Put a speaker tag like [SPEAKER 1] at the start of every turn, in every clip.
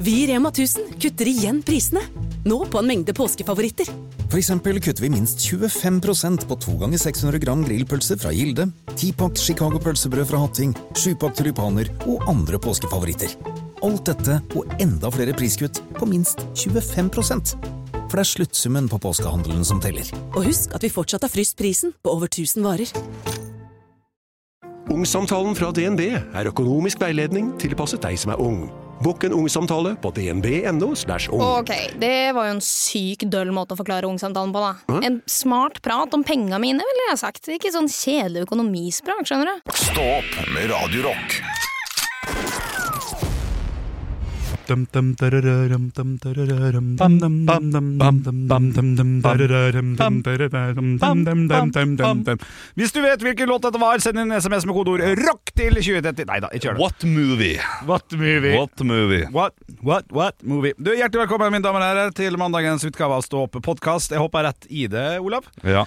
[SPEAKER 1] Vi i Rema 1000 kutter igjen prisene. Nå på en mengde påskefavoritter.
[SPEAKER 2] For eksempel kutter vi minst 25 på 2 ganger 600 gram grillpølse fra Gilde, 10-pakt Chicago pølsebrød fra Hatting, 7-pakt tulipaner og andre påskefavoritter. Alt dette og enda flere priskutt på minst 25 For det er sluttsummen på påskehandelen som teller.
[SPEAKER 1] Og husk at vi fortsatt har fryst prisen på over 1000 varer.
[SPEAKER 3] Ungsamtalen fra DNB er økonomisk veiledning tilpasset deg som er ung. Bokk en ungsamtale på dnb.no. slash ung.
[SPEAKER 4] Ok, det var jo en syk døll måte å forklare ungsamtalen på, da. En smart prat om penga mine, ville jeg sagt. Ikke sånn kjedelig økonomisprat, skjønner du.
[SPEAKER 5] Stå opp med Radio Rock.
[SPEAKER 6] Dum, dum, dararam, dum, dararam, dum, dum, dum, dum, dum, dum, dum, dum, dum, dararam, dum, dararam, dum, dum, dum, dum, dum, dum. Hvis du vet hvilken låt dette var, send en SMS med kodeord 'rock' til 2030. Nei da, ikke gjør det.
[SPEAKER 7] What movie?
[SPEAKER 6] What movie?
[SPEAKER 7] What movie?
[SPEAKER 6] What, what, what movie? Du, Hjertelig velkommen mine damer og herrer til mandagens utgave av Stå opp podkast. Jeg hopper rett i det, Olav.
[SPEAKER 7] Ja.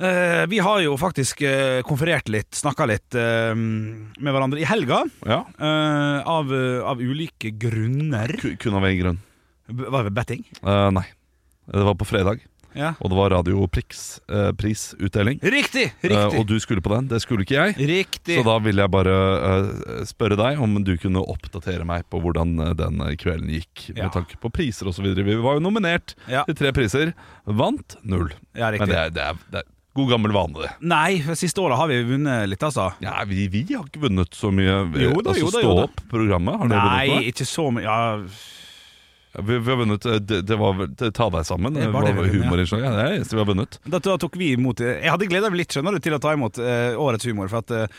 [SPEAKER 6] Eh, vi har jo faktisk eh, konferert litt, snakka litt eh, med hverandre i helga.
[SPEAKER 7] ja.
[SPEAKER 6] eh, av, av ulike grunner.
[SPEAKER 7] Ku- Kun av én grunn.
[SPEAKER 6] B- Var det betting?
[SPEAKER 7] Eh, nei. Det var på fredag,
[SPEAKER 6] Ja.
[SPEAKER 7] og det var Radio Prix eh, prisutdeling.
[SPEAKER 6] Riktig!
[SPEAKER 7] Eh,
[SPEAKER 6] Riktig!
[SPEAKER 7] og du skulle på den. Det skulle ikke jeg.
[SPEAKER 6] riktig.
[SPEAKER 7] Så da ville jeg bare eh, spørre deg om du kunne oppdatere meg på hvordan eh, den kvelden gikk.
[SPEAKER 6] Ja.
[SPEAKER 7] Med tanke på priser osv. Vi var jo nominert
[SPEAKER 6] Ja.
[SPEAKER 7] til tre priser. Vant null.
[SPEAKER 6] Ja, riktig.
[SPEAKER 7] Men det er, det, er, det er god gammel vane, det.
[SPEAKER 6] Nei, for siste året har vi vunnet litt, altså.
[SPEAKER 7] Ja, vi, vi har ikke vunnet så mye. Vi-
[SPEAKER 6] Jo da,
[SPEAKER 7] altså,
[SPEAKER 6] jo da,
[SPEAKER 7] Stå
[SPEAKER 6] jo da.
[SPEAKER 7] opp-programmet. Har dere vunnet noe?
[SPEAKER 6] Nei, ikke så mye ja,
[SPEAKER 7] Ja, Vi, vi har vunnet eh, Det, det var vel det, Ta deg sammen.
[SPEAKER 6] Det
[SPEAKER 7] Det
[SPEAKER 6] var
[SPEAKER 7] var
[SPEAKER 6] det vi vunnet, ja.
[SPEAKER 7] humorinnslaget. Ja, det er det eneste vi har vunnet.
[SPEAKER 6] da, da tok vi imot eh, Jeg hadde gleda meg litt skjønner du, til å ta imot eh, årets humor, for at eh,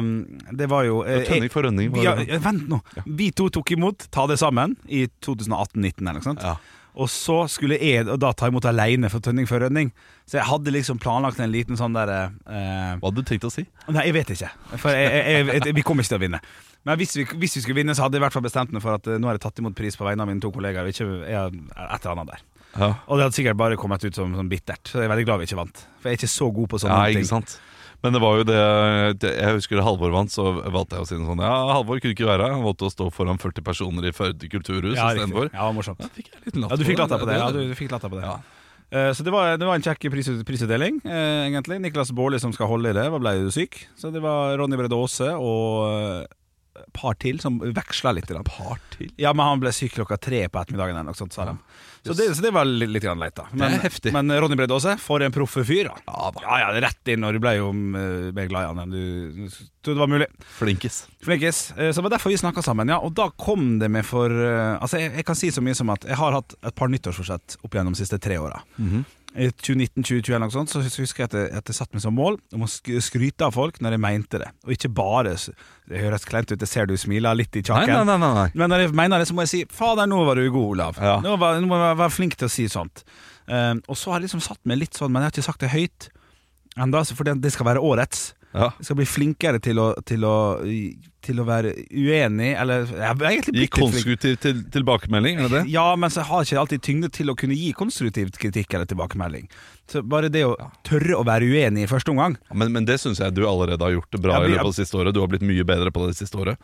[SPEAKER 6] um, det var jo eh,
[SPEAKER 7] Tønning for Rønning.
[SPEAKER 6] jeg-
[SPEAKER 7] Var
[SPEAKER 6] ja,
[SPEAKER 7] det.
[SPEAKER 6] ja, Vent nå. Vi to tok imot Ta det sammen i 2018-19 eller noe sånt.
[SPEAKER 7] Ja.
[SPEAKER 6] Og så skulle jeg da ta imot aleine for Tønning for Rønning. Så jeg hadde liksom planlagt en liten sånn derre eh,
[SPEAKER 7] Hva hadde du tenkt å si?
[SPEAKER 6] Nei, jeg vet ikke. For jeg, jeg, jeg, jeg, vi kommer ikke til å vinne. Men hvis vi, hvis vi skulle vinne, så hadde jeg i hvert fall bestemt meg for at eh, nå har jeg tatt imot pris på vegne av mine to kollegaer. og Ikke jeg, et eller annet der
[SPEAKER 7] Ja,
[SPEAKER 6] Og det hadde sikkert bare kommet ut som, som bittert. Så jeg er veldig glad vi ikke vant. For jeg er ikke så god på sånne
[SPEAKER 7] ja ikke
[SPEAKER 6] ting.
[SPEAKER 7] sant? Men det var jo det, det Jeg husker da Halvor vant, så valgte jeg å si noe sånn Ja, Halvor kunne ikke være her. Han valgte å stå foran 40 personer i Førde kulturhus
[SPEAKER 6] Ja, riktig.
[SPEAKER 7] istedenfor.
[SPEAKER 6] ja, det var morsomt.
[SPEAKER 7] Da fikk jeg en liten latter
[SPEAKER 6] Ja, du fikk latter på det. Ja,
[SPEAKER 7] Det-
[SPEAKER 6] du fikk latter på det.
[SPEAKER 7] Ja.
[SPEAKER 6] Eh, Så det var, det var en kjekk pris, prisutdeling, eh, egentlig. Niklas Baarli som skal holde i det, var- ble jo syk. Så det var Ronny Brede Aase og eh, et par til som veksla litt. Grann.
[SPEAKER 7] Par til.
[SPEAKER 6] Ja, men han ble syk klokka tre på ettermiddagen eller noe sånt, sa de. Så det, så det var litt, litt grann leit, da. Men,
[SPEAKER 7] heftig.
[SPEAKER 6] men Ronny Brede Aase, for en proffe fyr, da. Ja, ja, rett inn, og du ble jo eh, mer glad i han enn du trodde var mulig.
[SPEAKER 7] Flinkis.
[SPEAKER 6] Flinkis. Eh, Så det var derfor vi snakka sammen, ja. Og da kom det med for eh, Altså, jeg, jeg kan si så mye som at jeg har hatt et par nyttårsforsett opp gjennom de siste tre åra.
[SPEAKER 7] Mhm.
[SPEAKER 6] I 2019-2021 eller noe sånt, så husker jeg at jeg, at jeg satte meg som mål om å sk- skryte av folk når jeg mente det, og ikke bare s- Det høres kleint ut, jeg ser du smiler litt i
[SPEAKER 7] Nei,
[SPEAKER 6] kjaken.
[SPEAKER 7] nei, nei. nei, nei.
[SPEAKER 6] Men når jeg mener det, så må jeg si Fader, nå var du god, Olav.
[SPEAKER 7] Ja.
[SPEAKER 6] Nå, var, nå må jeg være flink til å si sånt. Eh, og så har jeg liksom satt meg litt sånn, men jeg har ikke sagt det høyt ennå, for det, det skal være årets.
[SPEAKER 7] Ja.
[SPEAKER 6] Jeg skal bli flinkere til å, til å, til å være uenig, eller Jeg har egentlig
[SPEAKER 7] Gi
[SPEAKER 6] blitt litt flink.
[SPEAKER 7] konstruktiv til, tilbakemelding, er det det?
[SPEAKER 6] Ja, men så har jeg ikke alltid tyngde til å kunne gi konstruktiv kritikk eller tilbakemelding. Så bare det å tørre å være uenig i første omgang
[SPEAKER 7] Ja, Men, men det syns jeg du allerede har gjort det bra
[SPEAKER 6] Ja, vi- Mm.
[SPEAKER 7] i løpet av det siste året. Du har blitt mye bedre på det siste året.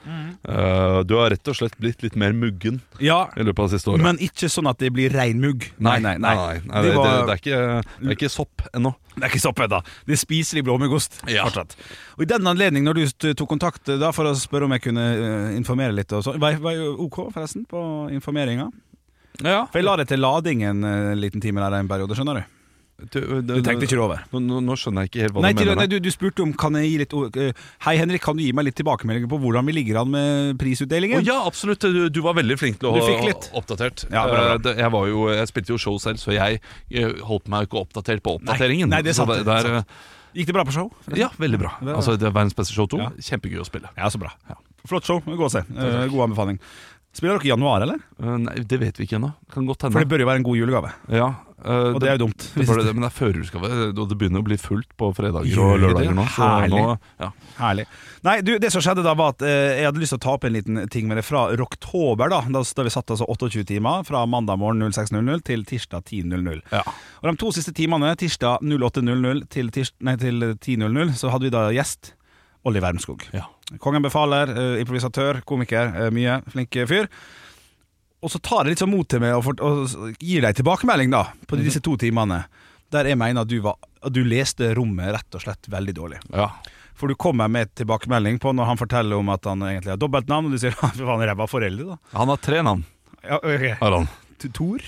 [SPEAKER 7] Eh, du har rett og slett blitt litt mer muggen
[SPEAKER 6] Ja,
[SPEAKER 7] i løpet av det siste året.
[SPEAKER 6] men ikke sånn at det blir rein mugg.
[SPEAKER 7] Nei, nei, Ah, nei,
[SPEAKER 6] Det,
[SPEAKER 7] det, det,
[SPEAKER 6] var,
[SPEAKER 7] det, er ikke, det er ikke sopp ennå.
[SPEAKER 6] Det er ikke sopp ennå. Det er spiselig blåmuggost fortsatt. Og I den anledning, når du st- tok kontakt eh, da for å spørre om jeg kunne eh, informere litt og sånn, var, jeg- var jeg OK forresten på informeringa?
[SPEAKER 7] Ja.
[SPEAKER 6] For jeg la det til lading en eh, liten time der en periode, skjønner du?
[SPEAKER 7] Du,
[SPEAKER 6] Du tenkte ikke det over?
[SPEAKER 7] Nå, nå, nå skjønner jeg ikke helt hva
[SPEAKER 6] Nei,
[SPEAKER 7] du
[SPEAKER 6] til,
[SPEAKER 7] mener.
[SPEAKER 6] nei, du, du spurte om kan jeg gi litt o- eh, Hei, Henrik, kan du gi meg litt tilbakemeldinger på hvordan vi ligger an med prisutdelingen?
[SPEAKER 7] Å, ja, absolutt. Du, du var veldig flink til å
[SPEAKER 6] Du fikk litt.
[SPEAKER 7] oppdatert.
[SPEAKER 6] Ja, bra, bra.
[SPEAKER 7] Eh, det- Jeg, var jo, jeg spilte jo show selv, så jeg eh, holdt meg jo ikke oppdatert på
[SPEAKER 6] Nei,
[SPEAKER 7] oppdateringen.
[SPEAKER 6] nei, det er sant,
[SPEAKER 7] Så
[SPEAKER 6] det er
[SPEAKER 7] det er,
[SPEAKER 6] Gikk det bra på show?
[SPEAKER 7] eh, ja, veldig bra.
[SPEAKER 6] Det er-
[SPEAKER 7] Altså, det er Verdens beste show 2.
[SPEAKER 6] Ja.
[SPEAKER 7] Kjempegøy å spille.
[SPEAKER 6] Ja, så bra. Flott show. Gå og se. Eh, god anbefaling. Spiller dere i januar, eller?
[SPEAKER 7] Eh, Nei, det vet vi ikke ennå. Kan godt
[SPEAKER 6] For
[SPEAKER 7] hende.
[SPEAKER 6] det bør jo være en god julegave.
[SPEAKER 7] Ja, eh,
[SPEAKER 6] Og det er jo dumt.
[SPEAKER 7] det bør det, men det er førjulsgave, og det begynner å bli fullt på fredager
[SPEAKER 6] Gjør
[SPEAKER 7] og
[SPEAKER 6] det?
[SPEAKER 7] lørdager nå. Så nå
[SPEAKER 6] Herlig.
[SPEAKER 7] ja.
[SPEAKER 6] Herlig. Nei, du, det som skjedde da var at eh, jeg hadde lyst til å ta opp en liten ting med det fra Rocktober, da. Da, da vi satt altså 28 timer fra mandag morgen 06.00 til tirsdag 10.00.
[SPEAKER 7] Ja.
[SPEAKER 6] Og de to siste timene, tirsdag 08.00 til, tirs nei, til 10.00, så hadde vi da gjest Olli Wermskog.
[SPEAKER 7] Ja.
[SPEAKER 6] Kongen befaler, eh, improvisatør, komiker, eh, mye flink fyr. og så tar jeg litt sånn mot til meg og, fort- og s- gir deg tilbakemelding da på disse to timene. Der jeg mener at du, var, at du leste rommet rett og slett veldig dårlig.
[SPEAKER 7] Ja.
[SPEAKER 6] For du kommer med tilbakemelding på når han forteller om at han egentlig har dobbeltnavn, og du sier «Hva faen ræva forelder, da.
[SPEAKER 7] Han har tre navn,
[SPEAKER 6] Ja, ok.
[SPEAKER 7] har han.
[SPEAKER 6] T- Tor?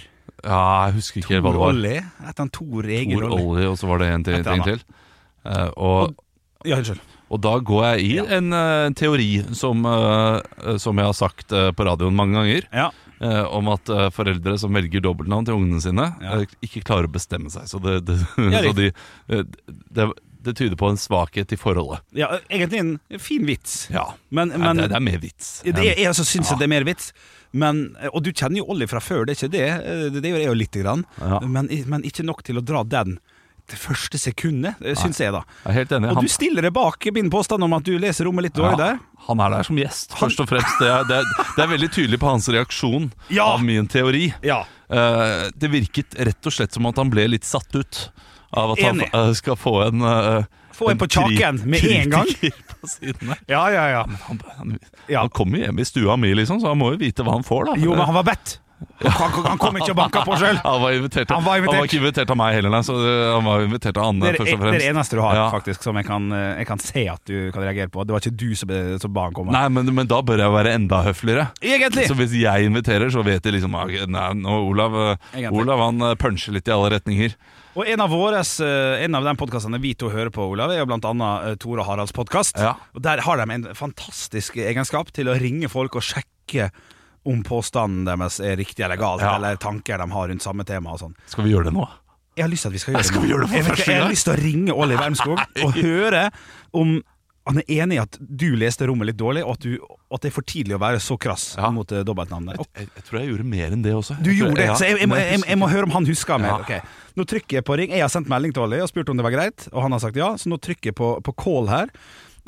[SPEAKER 7] Ja, jeg husker ikke helt hva det var.
[SPEAKER 6] Olle? Etter han Tor Egil
[SPEAKER 7] Tor
[SPEAKER 6] Olle.
[SPEAKER 7] Olli, og så var det en til.
[SPEAKER 6] Et eller
[SPEAKER 7] ting til.
[SPEAKER 6] annet.
[SPEAKER 7] Eh, og,
[SPEAKER 6] Ja, unnskyld.
[SPEAKER 7] og da går jeg i en eh, teori som, eh, som jeg har sagt eh, på radioen mange ganger,
[SPEAKER 6] Ja.
[SPEAKER 7] eh, om at eh, foreldre som velger dobbeltnavn til ungene sine,
[SPEAKER 6] Ja.
[SPEAKER 7] eh, ikke klarer å bestemme seg. Så det, det,
[SPEAKER 6] Ja,
[SPEAKER 7] så de, eh, det, det tyder på en svakhet i forholdet.
[SPEAKER 6] ja, egentlig en fin vits.
[SPEAKER 7] Ja.
[SPEAKER 6] Men,
[SPEAKER 7] Nei,
[SPEAKER 6] men
[SPEAKER 7] det, det er mer vits.
[SPEAKER 6] Ja, Det er, jeg også syns det er mer vits. Men, og du kjenner jo Olli fra før, det er ikke det. Eh, Det gjør jeg jo lite grann.
[SPEAKER 7] Ja.
[SPEAKER 6] Men, men ikke nok til å dra den det første sekundet, eh, syns jeg, da.
[SPEAKER 7] Jeg er helt enig.
[SPEAKER 6] Og
[SPEAKER 7] Han-
[SPEAKER 6] du stiller deg bak min påstand om at du leser rommet litt dårlig der.
[SPEAKER 7] Han er der som gjest, først og fremst. Det er, det er, det er veldig tydelig på hans reaksjon
[SPEAKER 6] Ja.
[SPEAKER 7] av min teori.
[SPEAKER 6] Ja.
[SPEAKER 7] Eh, det virket rett og slett som at han ble litt satt ut av at
[SPEAKER 6] Enig.
[SPEAKER 7] han eh, skal få en eh,
[SPEAKER 6] Få en på
[SPEAKER 7] kri-
[SPEAKER 6] kjaken med en gang.
[SPEAKER 7] kritiker På siden der.
[SPEAKER 6] Ja, ja, ja.
[SPEAKER 7] Han, han,
[SPEAKER 6] Ja.
[SPEAKER 7] han kommer jo hjem i stua mi, liksom, så han må jo vite hva han får, da.
[SPEAKER 6] Jo, men han var bedt. Han, han- han kom ikke og banka på sjøl.
[SPEAKER 7] Han var, invitert,
[SPEAKER 6] Han var invitert.
[SPEAKER 7] ikke invitert av meg heller, nei. Så eh, han var invitert av Anne,
[SPEAKER 6] Det er
[SPEAKER 7] først og
[SPEAKER 6] det er
[SPEAKER 7] fremst.
[SPEAKER 6] det eneste du har
[SPEAKER 7] Ja.
[SPEAKER 6] faktisk som jeg kan, eh, jeg kan se at du kan reagere på. Det var ikke du som, eh, som ba han komme.
[SPEAKER 7] Nei, men, men da bør jeg være enda høfligere.
[SPEAKER 6] Egentlig!
[SPEAKER 7] Så hvis jeg inviterer, så vet de liksom ah, Nei, nå Olav, eh,
[SPEAKER 6] Egentlig. Olav.
[SPEAKER 7] Olav han eh, puncher litt i alle retninger.
[SPEAKER 6] Og en av, våres, eh, en av de podkastene vi to hører på, Olav, er jo blant annet eh, Tore og Haralds podkast.
[SPEAKER 7] Ja.
[SPEAKER 6] Og Der har de en fantastisk egenskap til å ringe folk og sjekke om påstanden deres er riktig eller gal,
[SPEAKER 7] Ja.
[SPEAKER 6] eller tanker de har rundt samme tema og sånn.
[SPEAKER 7] Skal vi gjøre det nå?
[SPEAKER 6] Jeg har lyst til at vi skal gjøre
[SPEAKER 7] Skal vi
[SPEAKER 6] nå.
[SPEAKER 7] gjøre det for
[SPEAKER 6] jeg, vet ikke,
[SPEAKER 7] første
[SPEAKER 6] jeg har
[SPEAKER 7] gang?
[SPEAKER 6] lyst til å ringe Olli Wermskog og høre om han er enig i at du leste rommet litt dårlig, og at, du, at det er for tidlig å være så krass
[SPEAKER 7] Ja.
[SPEAKER 6] mot eh, dobbeltnavnet.
[SPEAKER 7] Jeg, jeg tror jeg gjorde mer enn det også.
[SPEAKER 6] Du
[SPEAKER 7] Jeg tror-
[SPEAKER 6] gjorde det,
[SPEAKER 7] ja,
[SPEAKER 6] så jeg, jeg, må-
[SPEAKER 7] men
[SPEAKER 6] jeg, jeg, må
[SPEAKER 7] husker
[SPEAKER 6] høre om han husker mer.
[SPEAKER 7] Ja.
[SPEAKER 6] Ok. Nå trykker jeg på ring. Jeg har sendt melding til Olli og spurt om det var greit, og han har sagt ja, så nå trykker jeg på, på call her.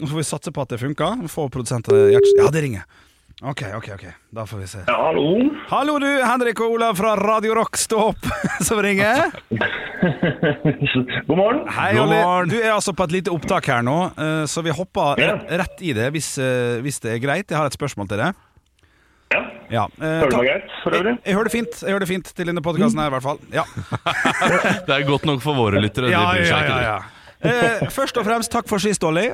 [SPEAKER 6] Nå får vi satse på at det funker. Få produsenten Gjertsen Ja, det ringer. Ok, ok, ok. Da får vi se.
[SPEAKER 8] Ja, hallo.
[SPEAKER 6] Hallo, du, Henrik og Olav fra Radio Rock, stå opp, som ringer.
[SPEAKER 8] God morgen.
[SPEAKER 6] Hei,
[SPEAKER 7] God
[SPEAKER 6] Olli.
[SPEAKER 7] morgen.
[SPEAKER 6] Du er altså på et lite opptak her nå, eh, så vi hopper
[SPEAKER 8] Ja.
[SPEAKER 6] rett, rett i det hvis, eh, hvis det er greit. Jeg har et spørsmål til deg.
[SPEAKER 8] Ja.
[SPEAKER 6] Ja. eh,
[SPEAKER 8] Hører du
[SPEAKER 6] ta-
[SPEAKER 8] meg greit for øvrig?
[SPEAKER 6] Jeg, jeg hører det fint jeg hører det fint til denne podkasten her, i hvert fall. Ja.
[SPEAKER 7] jeg. Det er godt nok for våre lyttere. de bryr seg ikke.
[SPEAKER 6] Eh, først og fremst, takk for sist, Olli.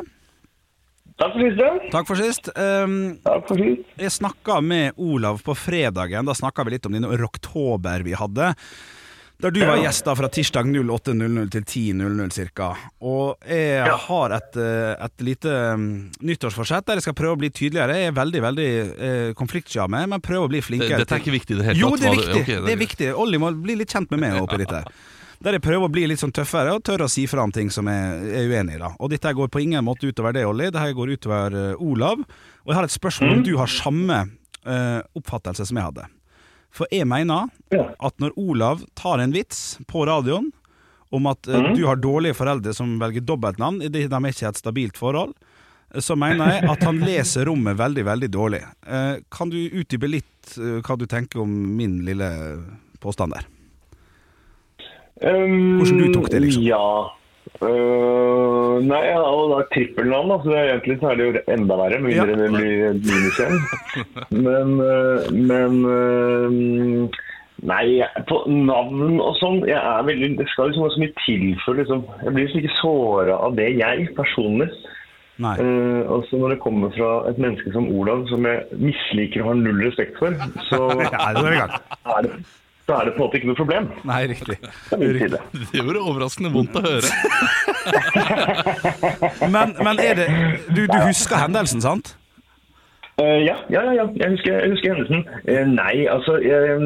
[SPEAKER 8] Takk for sist. ja.
[SPEAKER 6] Takk for sist. Um,
[SPEAKER 8] Takk for sist.
[SPEAKER 6] jeg snakka med Olav på fredagen. Da snakka vi litt om den rocktober vi hadde. Der du var gjest da fra tirsdag 08.00 til 10.00 ca. Og jeg har et, eh, et lite um, nyttårsforsett der jeg skal prøve å bli tydeligere. Jeg er veldig veldig eh, konfliktsky av meg, men prøver å bli
[SPEAKER 7] Det-
[SPEAKER 6] flinkere.
[SPEAKER 7] Dette er
[SPEAKER 6] til-
[SPEAKER 7] ikke viktig i det hele
[SPEAKER 6] jo,
[SPEAKER 7] tatt.
[SPEAKER 6] det er
[SPEAKER 7] hva du-
[SPEAKER 6] viktig.
[SPEAKER 7] ok,
[SPEAKER 6] det er viktig. Olli må bli litt kjent med meg oppi dette. her. Der jeg prøver å bli litt sånn tøffere og tørre å si fra om ting som jeg er uenig i. da. Og dette her går på ingen måte utover det, Olli. Dette her går utover eh, Olav. Og jeg har et spørsmål om du har samme eh, oppfattelse som jeg hadde. For jeg mener
[SPEAKER 8] Ja.
[SPEAKER 6] at når Olav tar en vits på radioen om at eh, du har dårlige foreldre som velger dobbeltnavn, de, de er ikke i et stabilt forhold, så mener jeg at han leser rommet veldig, veldig dårlig. Eh, Kan du utdype litt eh, hva du tenker om min lille påstand der?
[SPEAKER 8] Um,
[SPEAKER 6] Hvordan du tok det, liksom?
[SPEAKER 8] Ja. Øh, nei, jeg har jo da trippelnavn, da, så det er egentlig så er det jo enda verre. Med
[SPEAKER 6] Ja.
[SPEAKER 8] mindre det blir et minus igjen. Men, øh, men øh, Nei, jeg, på navn og sånn jeg er veldig, Det skal liksom så mye til for liksom. Jeg blir liksom ikke såra av det, jeg personlig.
[SPEAKER 6] Nei.
[SPEAKER 8] Eh, altså Når det kommer fra et menneske som Olav, som jeg misliker og har null respekt for, så
[SPEAKER 6] Ja, da er vi i gang.
[SPEAKER 8] er det, så er det på en måte ikke noe problem.
[SPEAKER 6] Nei, riktig.
[SPEAKER 8] Fra min side.
[SPEAKER 7] Det gjorde overraskende vondt å høre.
[SPEAKER 6] Men, men er det du, du husker hendelsen, sant?
[SPEAKER 8] Eh, ja, ja, ja, ja. Jeg husker, jeg husker hendelsen. Eh, nei, altså eh,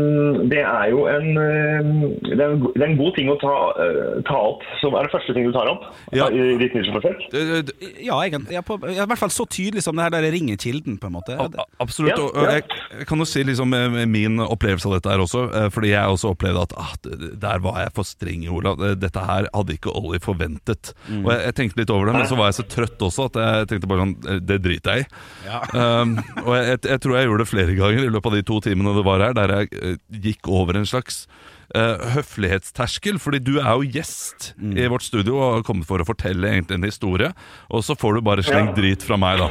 [SPEAKER 8] Det er jo en, eh, det er en, go- det er en god ting å ta, eh, ta opp, som er det første ting du tar opp Eh,
[SPEAKER 7] Ja.
[SPEAKER 8] i ditt nyhetsforsøk.
[SPEAKER 7] Det- det-
[SPEAKER 6] Ja, egentlig. Ja, på, ja, I hvert fall så tydelig som det her der jeg ringer kilden, på en måte. Ja,
[SPEAKER 7] a-
[SPEAKER 6] det-
[SPEAKER 7] a- Absolutt.
[SPEAKER 8] Ja,
[SPEAKER 7] Og og
[SPEAKER 8] ja.
[SPEAKER 7] jeg, jeg kan jo si liksom eh, min opplevelse av dette her også, eh, fordi jeg også opplevde at ah, det- det- der var jeg for streng, Olav. Det- Dette her hadde ikke Ollie forventet.
[SPEAKER 6] Mm.
[SPEAKER 7] Og jeg, jeg tenkte litt over det, men så var jeg så trøtt også at jeg tenkte bare sånn eh, Det driter jeg i. Um, og jeg, jeg, jeg tror jeg gjorde det flere ganger i løpet av de to timene det var her, der jeg eh, gikk over en slags eh, høflighetsterskel. Fordi du er jo gjest
[SPEAKER 6] Mm.
[SPEAKER 7] i vårt studio og har kommet for å fortelle egentlig en historie, og så får du bare slengt drit fra meg, da.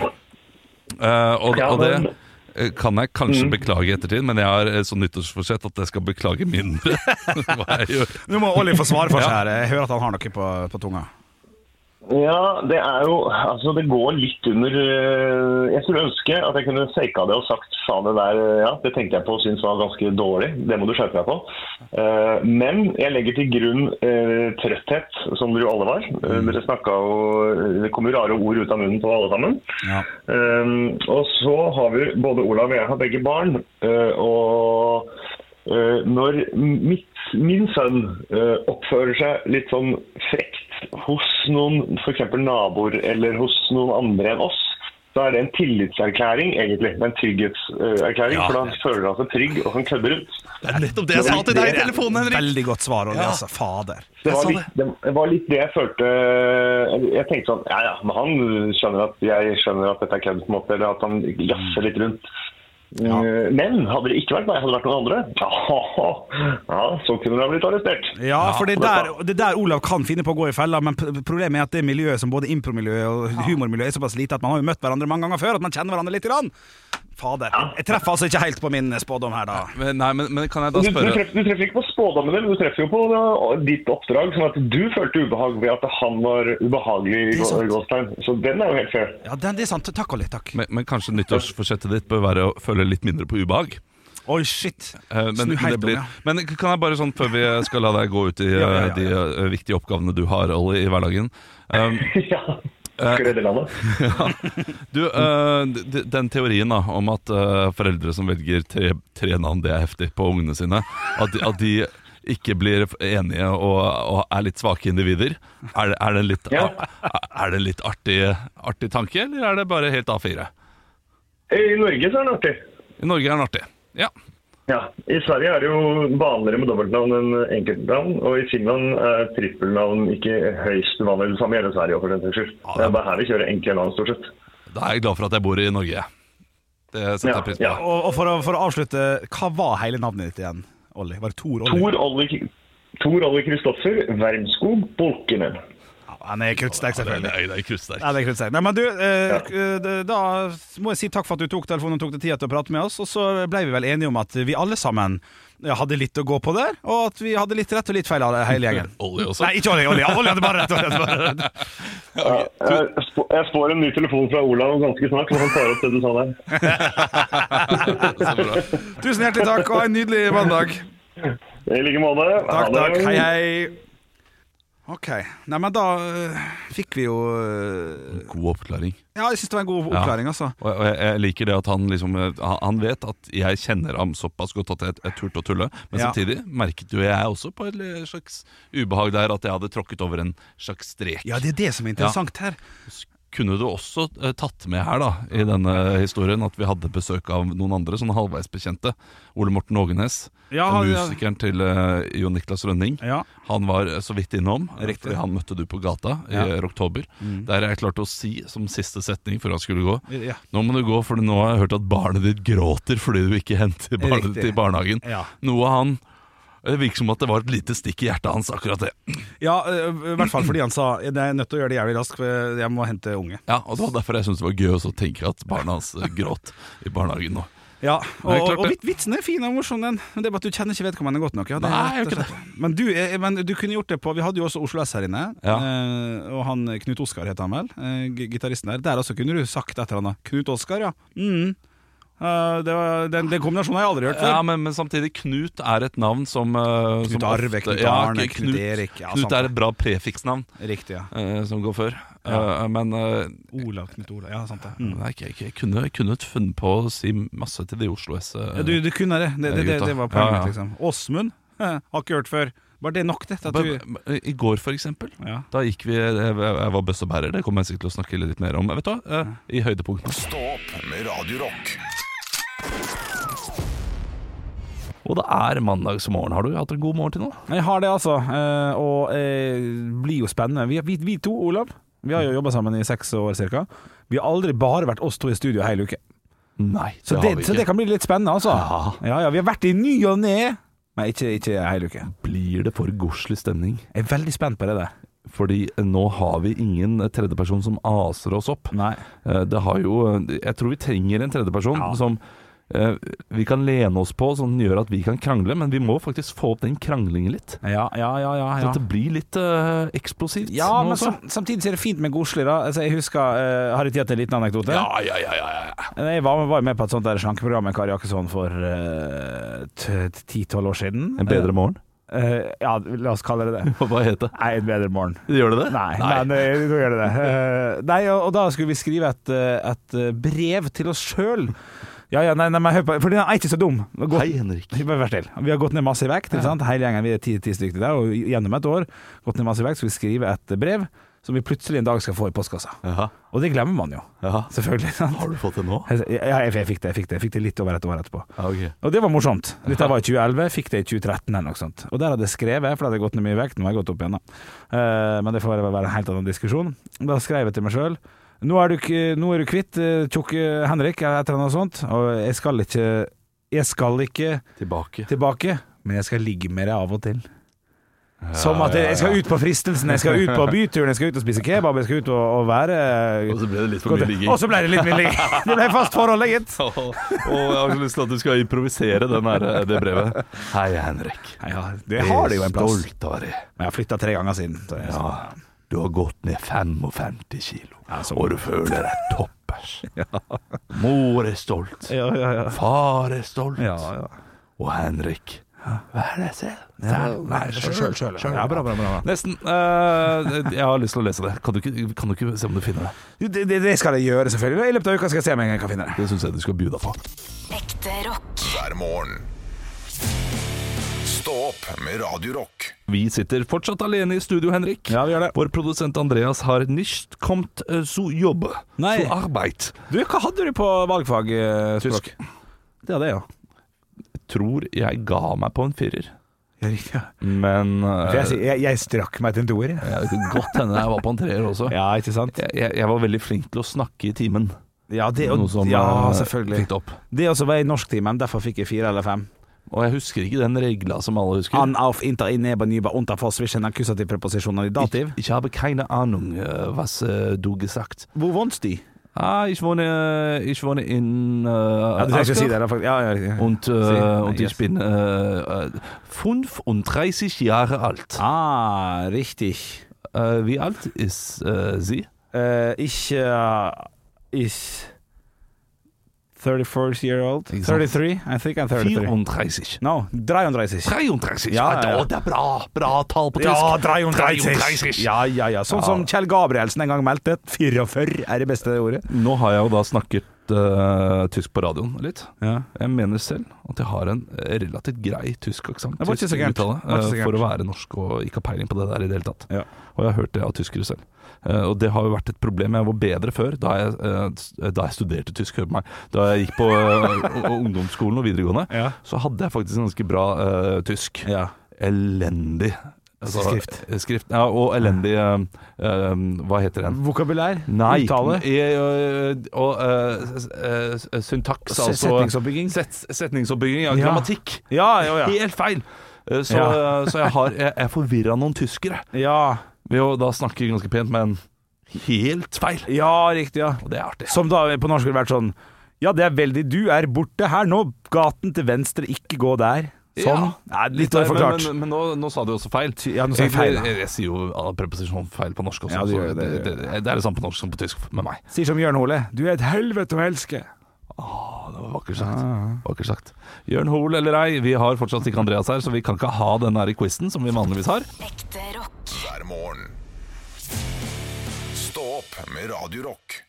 [SPEAKER 7] Eh, og,
[SPEAKER 8] Ja,
[SPEAKER 7] og det,
[SPEAKER 8] men-
[SPEAKER 7] eh, kan jeg kanskje
[SPEAKER 6] Mm.
[SPEAKER 7] beklage i ettertid, men jeg har eh, sånn nyttårsforsett at jeg skal beklage mindre. Hva jeg gjør.
[SPEAKER 6] Nå må Olli få svare for seg her. Jeg hører at han har noe på, på tunga.
[SPEAKER 8] Ja, det er jo Altså, det går litt under eh, Jeg skulle ønske at jeg kunne faka det og sagt faen, det der eh, Ja, det tenkte jeg på og syntes var ganske dårlig. Det må du skjerpe deg på. Eh, Men jeg legger til grunn eh, trøtthet, som dere jo alle var. Eh, Dere snakka jo eh, Det kom jo rare ord ut av munnen på alle sammen.
[SPEAKER 6] Ja.
[SPEAKER 8] Um, og så har vi, både Olav og jeg har begge barn. eh, og eh, når mitt, min sønn eh, oppfører seg litt sånn frekt hos noen, f.eks. naboer eller hos noen andre enn oss, da er det en tillitserklæring, egentlig. En trygghetserklæring.
[SPEAKER 7] Ja.
[SPEAKER 8] For da føler han seg trygg og kan kødde rundt.
[SPEAKER 7] Det er nettopp det jeg sa til deg i telefonen, Henrik!
[SPEAKER 6] Veldig godt svar, Olli. Altså, fader.
[SPEAKER 8] Det
[SPEAKER 7] Jeg
[SPEAKER 8] var,
[SPEAKER 7] sa
[SPEAKER 8] litt, det var litt det jeg følte Jeg tenkte sånn Ja ja, men han skjønner at jeg skjønner at dette er kødd, på en måte. Eller at han jazzer litt rundt. Eh, Men hadde det ikke vært meg, hadde det vært noen andre, ja, ja så kunne det ha blitt arrestert.
[SPEAKER 6] Ja, for det er der, det er der Olav kan finne på å gå i fella, men p- problemet er at det miljøet som både impromiljøet og humormiljøet er såpass lite at man har jo møtt hverandre mange ganger før, at man kjenner hverandre litt. Grann. Fader. Jeg treffer altså ikke helt på min spådom her, da.
[SPEAKER 7] Men- Nei, men, men kan jeg da
[SPEAKER 8] Du, du,
[SPEAKER 7] spørre
[SPEAKER 8] treffer, du treffer ikke på spådommene, men du treffer jo på eh, ditt oppdrag. Sånn at du følte ubehag ved at han var ubehagelig. i
[SPEAKER 6] er
[SPEAKER 8] gå-
[SPEAKER 6] sant.
[SPEAKER 8] gåstegn. Så den er jo helt fair.
[SPEAKER 6] Ja, det, det er sant. Takk, Olli. Takk.
[SPEAKER 7] men, men kanskje nyttårsforsettet ditt bør være å føle litt mindre på ubehag?
[SPEAKER 6] Oi, shit.
[SPEAKER 7] Eh, Men,
[SPEAKER 6] Snu
[SPEAKER 7] men, det
[SPEAKER 6] helt om,
[SPEAKER 7] blir,
[SPEAKER 6] ja.
[SPEAKER 7] men kan jeg bare sånn, før vi skal la deg gå ut i
[SPEAKER 6] Ja, ja, ja,
[SPEAKER 7] eh, de eh, viktige oppgavene du har, Olli, i hverdagen um,
[SPEAKER 8] ja. Skal redde landet.
[SPEAKER 7] Du, eh, d- den teorien da, om at eh, foreldre som velger tre, tre navn, det er heftig, på ungene sine, at, de- at de ikke blir enige og, og er litt svake individer, er det, er det en litt,
[SPEAKER 8] Ja.
[SPEAKER 7] er det en litt artig, artig tanke, eller er det bare helt A4?
[SPEAKER 8] I Norge så er den artig.
[SPEAKER 7] I Norge er den artig. Ja.
[SPEAKER 8] Ja, I Sverige er det jo vanligere med dobbeltnavn enn enkeltnavn. Og i Finland er trippelnavn ikke høyst vanlig. Det samme gjelder Sverige. også, for den saks skyld.
[SPEAKER 7] Ja, det er-
[SPEAKER 8] Det er bare her vi kjører enkle navn, stort sett.
[SPEAKER 7] Da er jeg glad for at jeg bor i Norge. Det setter
[SPEAKER 8] Ja,
[SPEAKER 7] jeg pris på.
[SPEAKER 8] ja.
[SPEAKER 6] Og, og for, å, for å avslutte, hva var hele navnet ditt igjen, Olli? Var det Tor Olli?
[SPEAKER 8] Tor Olli- Tor Olli Kristoffer Wermskog Bolkenen.
[SPEAKER 6] Ja, han er kruttsterk,
[SPEAKER 7] Det er,
[SPEAKER 6] selvfølgelig.
[SPEAKER 7] det er kruttsterkt.
[SPEAKER 6] Ja, det er kruttsterk. Nei, men du, eh, k- da må jeg si takk for at du tok telefonen og tok deg tid til å prate med oss. Og så ble vi vel enige om at vi alle sammen eh, hadde litt å gå på der, og at vi hadde litt rett og litt feil av det hele gjengen.
[SPEAKER 7] Olje også.
[SPEAKER 6] Nei, ikke Olli. Olli, Olli hadde bare rett. Olli hadde bare rett.
[SPEAKER 8] Ja, jeg, sp- jeg spår en ny telefon fra Olav ganske snart, når han tar opp det du sa der.
[SPEAKER 7] Så bra.
[SPEAKER 6] Tusen hjertelig takk, og ha en nydelig mandag.
[SPEAKER 8] I like måte. Ha
[SPEAKER 6] Takk,
[SPEAKER 8] det.
[SPEAKER 6] takk. Hei, hei. Ok. Nei, men da eh, fikk vi jo eh,
[SPEAKER 7] God oppklaring.
[SPEAKER 6] Ja, jeg syns det var en god
[SPEAKER 7] Ja.
[SPEAKER 6] oppklaring, altså.
[SPEAKER 7] Og jeg, og jeg- jeg liker det at han liksom eh, Han han vet at jeg kjenner ham såpass godt at jeg, jeg turte å tulle. Men
[SPEAKER 6] Ja.
[SPEAKER 7] samtidig merket jo jeg også på et li- slags ubehag der at jeg hadde tråkket over en slags strek.
[SPEAKER 6] Ja, det er det som er interessant her.
[SPEAKER 7] Kunne du også eh, tatt med her da i denne historien at vi hadde besøk av noen andre, sånn halvveis bekjente? Ole Morten Ågenes,
[SPEAKER 6] Ja, han-
[SPEAKER 7] musikeren til eh, Jon Niklas Rønning.
[SPEAKER 6] Ja.
[SPEAKER 7] Han var eh, så vidt innom, eh,
[SPEAKER 6] Riktig.
[SPEAKER 7] fordi han møtte du på gata i
[SPEAKER 6] Ja. Mm.
[SPEAKER 7] eh, oktober. Der jeg klarte å si som siste setning før han skulle gå
[SPEAKER 6] Ja.
[SPEAKER 7] Nå må du gå, for nå har jeg hørt at barnet ditt gråter fordi du ikke henter barnet
[SPEAKER 6] Riktig.
[SPEAKER 7] ditt i barnehagen.
[SPEAKER 6] Ja.
[SPEAKER 7] Noe han Det virker som at det var et lite stikk i hjertet hans, akkurat det.
[SPEAKER 6] Ja, øh, i hvert fall fordi han sa Jeg er nødt til å gjøre det jævlig raskt, for jeg må hente unge.
[SPEAKER 7] Ja, og Det var derfor jeg syntes det var gøy også å tenke at barna hans eh, gråt i barnehagen nå.
[SPEAKER 6] Ja,
[SPEAKER 7] Nei,
[SPEAKER 6] Og,
[SPEAKER 7] klart
[SPEAKER 6] og
[SPEAKER 7] det.
[SPEAKER 6] vit- vitsen er fin og morsom, den. Men det er bare at du kjenner ikke vedkommende godt nok. Ja, det er
[SPEAKER 7] Nei, jeg
[SPEAKER 6] rett og
[SPEAKER 7] gjør ikke
[SPEAKER 6] slett det. Men du, eh, men du kunne gjort det på Vi hadde jo også Oslo S her inne.
[SPEAKER 7] Ja.
[SPEAKER 6] eh, Og han Knut Oskar het han vel. eh, g- Gitaristen der. Der også kunne du sagt et eller annet. Knut Oskar, ja. Mm. Eh, Det var, den, den kombinasjonen har jeg aldri hørt før.
[SPEAKER 7] Ja, men, men samtidig, Knut er et navn som eh,
[SPEAKER 6] Knut
[SPEAKER 7] som
[SPEAKER 6] Arve, Knut Arne, Knut Erik, ja,
[SPEAKER 7] Knut
[SPEAKER 6] sant.
[SPEAKER 7] er et bra prefiksnavn
[SPEAKER 6] Riktig, ja.
[SPEAKER 7] eh, som går før. Eh, men eh,
[SPEAKER 6] Olav Knut Olav. Ja, sant det.
[SPEAKER 7] Nei, ikke, ikke, jeg kunne, jeg kunne funnet på å si masse til de Oslo S. eh,
[SPEAKER 6] Ja, du, du kunne det. Det, det, det, det var poenget mitt,
[SPEAKER 7] Ja, ja.
[SPEAKER 6] liksom. Åsmund eh, har ikke hørt før. Bare det er nok, det. til At du,
[SPEAKER 7] Bare- bare- eh, I går, for eksempel.
[SPEAKER 6] Ja.
[SPEAKER 7] Da gikk vi eh, Jeg jeg var bøssebærer, det kommer jeg sikkert til å snakke litt mer om. Vet du hva? Eh, I høydepunktene.
[SPEAKER 5] Stå opp med Radio Rock.
[SPEAKER 7] Og det er mandagsmorgen. Har du hatt en god morgen til nå?
[SPEAKER 6] Jeg har det, altså. eh, Og eh, blir jo spennende. Vi, vi, vi to, Olav, vi har jo jobba sammen i seks år ca. Vi har aldri bare vært oss to i studio hele uke.
[SPEAKER 7] Nei, det
[SPEAKER 6] Så
[SPEAKER 7] har
[SPEAKER 6] det,
[SPEAKER 7] vi ikke.
[SPEAKER 6] så det kan bli litt spennende, altså.
[SPEAKER 7] Ja.
[SPEAKER 6] Ja, ja, vi har vært i ny og ne, men ikke, ikke hele uke.
[SPEAKER 7] Blir det for godslig stemning?
[SPEAKER 6] Jeg er veldig spent på det der.
[SPEAKER 7] Fordi eh, nå har vi ingen tredjeperson som aser oss opp.
[SPEAKER 6] Nei.
[SPEAKER 7] Eh, Det har jo Jeg tror vi trenger en tredjeperson som eh, vi kan lene oss på, som gjør at vi kan krangle, men vi må faktisk få opp den kranglingen litt.
[SPEAKER 6] Ja, ja, ja, ja, ja.
[SPEAKER 7] Så at det blir litt eh, eksplosivt.
[SPEAKER 6] Ja,
[SPEAKER 7] Sånn nå altså.
[SPEAKER 6] men
[SPEAKER 7] også.
[SPEAKER 6] sam, samtidig så er det fint med godslig, da. Altså, jeg husker, eh, Har jeg tid til en liten anekdote?
[SPEAKER 7] ja, ja, ja, ja, ja.
[SPEAKER 6] Jeg var, var med på et sånt der slankeprogram med Kari Jakkesson for eh, t- ti-tolv år siden.
[SPEAKER 7] En bedre morgen?
[SPEAKER 6] Eh, ja, la oss kalle det det.
[SPEAKER 7] Hva heter det?
[SPEAKER 6] Nei, en bedre morgen.
[SPEAKER 7] Gjør det det?
[SPEAKER 6] Nei, men eh, nå gjør det det. Eh, nei, og, og da skulle vi skrive et, eh, et eh, brev til oss sjøl. Ja, ja, nei, nei, men hør på, for den er ikke så dum. Gå-
[SPEAKER 7] Hei, Henrik.
[SPEAKER 6] Bare Vær still. Vi har gått ned masse i vekt. Ikke sant? Hele gjengen, vi er ti, ti stykker der, og gjennom et år gått ned masse i vekt, skal vi skrive et brev som vi plutselig en dag skal få i postkassa.
[SPEAKER 7] Jaha,
[SPEAKER 6] Og det glemmer man jo,
[SPEAKER 7] jaha.
[SPEAKER 6] selvfølgelig. Sant?
[SPEAKER 7] Har du fått det nå?
[SPEAKER 6] Jeg, jeg, jeg fikk det, jeg fikk det jeg fikk det litt over et år etterpå.
[SPEAKER 7] Ja, ok.
[SPEAKER 6] Og det var morsomt. Dette var i 2011, fikk det i 2013 eller noe sånt. Og der hadde jeg skrevet, for det hadde gått ned mye i vekt, nå har jeg gått opp igjen da. Eh, men det får være en helt annen diskusjon. Da skrev jeg til meg sjøl. Nå er du, k- nå er du kvitt eh, tjukke Henrik, eller et eller annet sånt, og jeg skal ikke Jeg skal ikke
[SPEAKER 7] Tilbake.
[SPEAKER 6] tilbake, men jeg skal ligge med deg av og til. Som at jeg, jeg skal ut på fristelsen, jeg skal ut på byturen, jeg skal ut og spise kebab, jeg skal ut og, og være eh,
[SPEAKER 7] Og så ble det litt for mye ligging.
[SPEAKER 6] Og så ble det litt mye ligging. Det ble fast forhold, gitt.
[SPEAKER 7] Åh, Og jeg har så lyst til at du skal improvisere den her, eh, det brevet. Hei, Henrik.
[SPEAKER 6] Ja, det har det jo en plass.
[SPEAKER 7] Stolt av deg.
[SPEAKER 6] Men jeg har flytta tre ganger siden. Så jeg, sånn.
[SPEAKER 7] Ja, du har gått ned 55 kilo,
[SPEAKER 6] så
[SPEAKER 7] og du føler deg toppers. Mor er stolt,
[SPEAKER 6] ja, ja, ja.
[SPEAKER 7] far er stolt,
[SPEAKER 6] Ja, ja.
[SPEAKER 7] og Henrik Vær deg selv.
[SPEAKER 6] Sjøl, sjøl. Ja, bra, bra, bra.
[SPEAKER 7] Nesten. eh, jeg har lyst til å lese det. Kan du ikke, kan du ikke se om du finner det?
[SPEAKER 6] Jo, Det, det, det skal jeg gjøre, selvfølgelig. I løpet av uka skal jeg se om jeg kan finne det.
[SPEAKER 7] Det syns jeg du skal by deg på.
[SPEAKER 9] Ekte rock.
[SPEAKER 5] hver morgen. Stå opp med Radio Rock.
[SPEAKER 7] Vi sitter fortsatt alene i studio, Henrik.
[SPEAKER 6] Ja, vi gjør det.
[SPEAKER 7] Vår produsent Andreas har nicht kommt eh, zu jobb.
[SPEAKER 6] Nei.
[SPEAKER 7] Zu arbeid.
[SPEAKER 6] Du, hva hadde du på valgfag? eh, språk?
[SPEAKER 7] Tysk.
[SPEAKER 6] Det hadde jeg, ja.
[SPEAKER 7] Tror jeg ga meg på en firer.
[SPEAKER 6] Ja, riktig, ja.
[SPEAKER 7] Men
[SPEAKER 6] For Jeg, sier- jeg, jeg strakk meg til en toer, jeg.
[SPEAKER 7] Ja, det kan godt hende jeg var på en treer også.
[SPEAKER 6] Ja, ikke sant?
[SPEAKER 7] Jeg, jeg, jeg var veldig flink til å snakke i timen.
[SPEAKER 6] Ja, det, og,
[SPEAKER 7] Noe som
[SPEAKER 6] ja
[SPEAKER 7] eh,
[SPEAKER 6] selvfølgelig.
[SPEAKER 7] fikk det opp.
[SPEAKER 6] Det også var i norsktimen, derfor fikk jeg fire eller fem.
[SPEAKER 7] Og jeg husker ikke den regla som alle husker.
[SPEAKER 6] An, auf, inter, inneben, über, unter, for, zwischen, akkusativ, preposisjoner, i dativ.
[SPEAKER 7] Ich, ich habe keine Ahnung, eh, was eh, du gesagt.
[SPEAKER 6] Hvor vondt de?
[SPEAKER 7] Ah, ich wohne, ich wohne in eh,
[SPEAKER 6] Ja, du trenger ikke
[SPEAKER 7] Asker.
[SPEAKER 6] si det. da, faktisk. Ja, ja, ja.
[SPEAKER 7] Und, eh,
[SPEAKER 6] Si.
[SPEAKER 7] und
[SPEAKER 6] Yes.
[SPEAKER 7] ich bin eh, eh, 35 Jahre alt.
[SPEAKER 6] Ah, richtig.
[SPEAKER 7] Eh, wie alt ist eh, sie?
[SPEAKER 6] Eh, ich uh, is 34 year old.
[SPEAKER 7] Ikke sant?
[SPEAKER 6] 33? I think I'm 33.
[SPEAKER 7] 34.
[SPEAKER 6] No, 33.
[SPEAKER 7] 33.
[SPEAKER 6] Ja, ja, ja.
[SPEAKER 7] Å, Ah, det er bra, bra tall på tysk.
[SPEAKER 6] Ja, 33! Ja, ja, ja. Sånn som
[SPEAKER 7] Ja.
[SPEAKER 6] Kjell Gabrielsen en gang meldte. 44 er det beste ordet.
[SPEAKER 7] Nå har jeg jo da snakket eh, tysk på radioen litt.
[SPEAKER 6] Ja.
[SPEAKER 7] Jeg mener selv at jeg har en eh, relativt grei tysk aksent.
[SPEAKER 6] Det var ikke så
[SPEAKER 7] tysk
[SPEAKER 6] gærent.
[SPEAKER 7] uttale,
[SPEAKER 6] Det var ikke så
[SPEAKER 7] eh,
[SPEAKER 6] gærent.
[SPEAKER 7] for å være norsk og ikke ha peiling på det der i det hele tatt.
[SPEAKER 6] Ja.
[SPEAKER 7] Og jeg har hørt det av tyskere selv. Eh, og det har jo vært et problem. Jeg var bedre før, da jeg, eh, s- da jeg studerte tysk. Hør på meg. Da jeg gikk på eh, o- ungdomsskolen og videregående,
[SPEAKER 6] Ja.
[SPEAKER 7] så hadde jeg faktisk ganske bra eh, tysk.
[SPEAKER 6] Ja.
[SPEAKER 7] Elendig. Altså,
[SPEAKER 6] Skrift.
[SPEAKER 7] skrift. Ja, og elendig eh, eh, Hva heter den?
[SPEAKER 6] Vokabulær?
[SPEAKER 7] Nei,
[SPEAKER 6] Uttale?
[SPEAKER 7] eh, eh, og eh, s- eh, s- syntaks,
[SPEAKER 6] Se-
[SPEAKER 7] altså
[SPEAKER 6] setningsoppbygging?
[SPEAKER 7] Set, setningsoppbygging, ja,
[SPEAKER 6] Ja.
[SPEAKER 7] grammatikk.
[SPEAKER 6] Ja, ja, ja.
[SPEAKER 7] Helt feil! Eh, Så,
[SPEAKER 6] Ja.
[SPEAKER 7] eh, så jeg har Jeg, jeg forvirra noen tyskere
[SPEAKER 6] Ja,
[SPEAKER 7] ved å da snakke ganske pent, men helt feil.
[SPEAKER 6] ja riktig, ja.
[SPEAKER 7] Og det er artig.
[SPEAKER 6] Som da på norsk ville vært sånn Ja, det er veldig Du er borte her nå. Gaten til venstre, ikke gå der. Sånn. Nei, litt
[SPEAKER 7] Nei, men,
[SPEAKER 6] forklart.
[SPEAKER 7] men, men nå, nå sa du også feil.
[SPEAKER 6] Ja, nå sa jeg feil, da.
[SPEAKER 7] Jeg, jeg, sier jo ja, preposisjon feil på norsk også.
[SPEAKER 6] Ja, du gjør det,
[SPEAKER 7] så
[SPEAKER 6] det
[SPEAKER 7] det, det, det er det samme på norsk som på tysk med meg.
[SPEAKER 6] Sier som Jørn Hole. Du er et helvete å elske.
[SPEAKER 7] Det var Vakkert sagt.
[SPEAKER 6] Ah.
[SPEAKER 7] Vakkert sagt. Jørn Hoel eller ei, vi har fortsatt ikke Andreas her, så vi kan ikke ha den her i quizen som vi vanligvis har.
[SPEAKER 9] Ekte rock.
[SPEAKER 5] hver morgen. Stå opp med Radio Rock.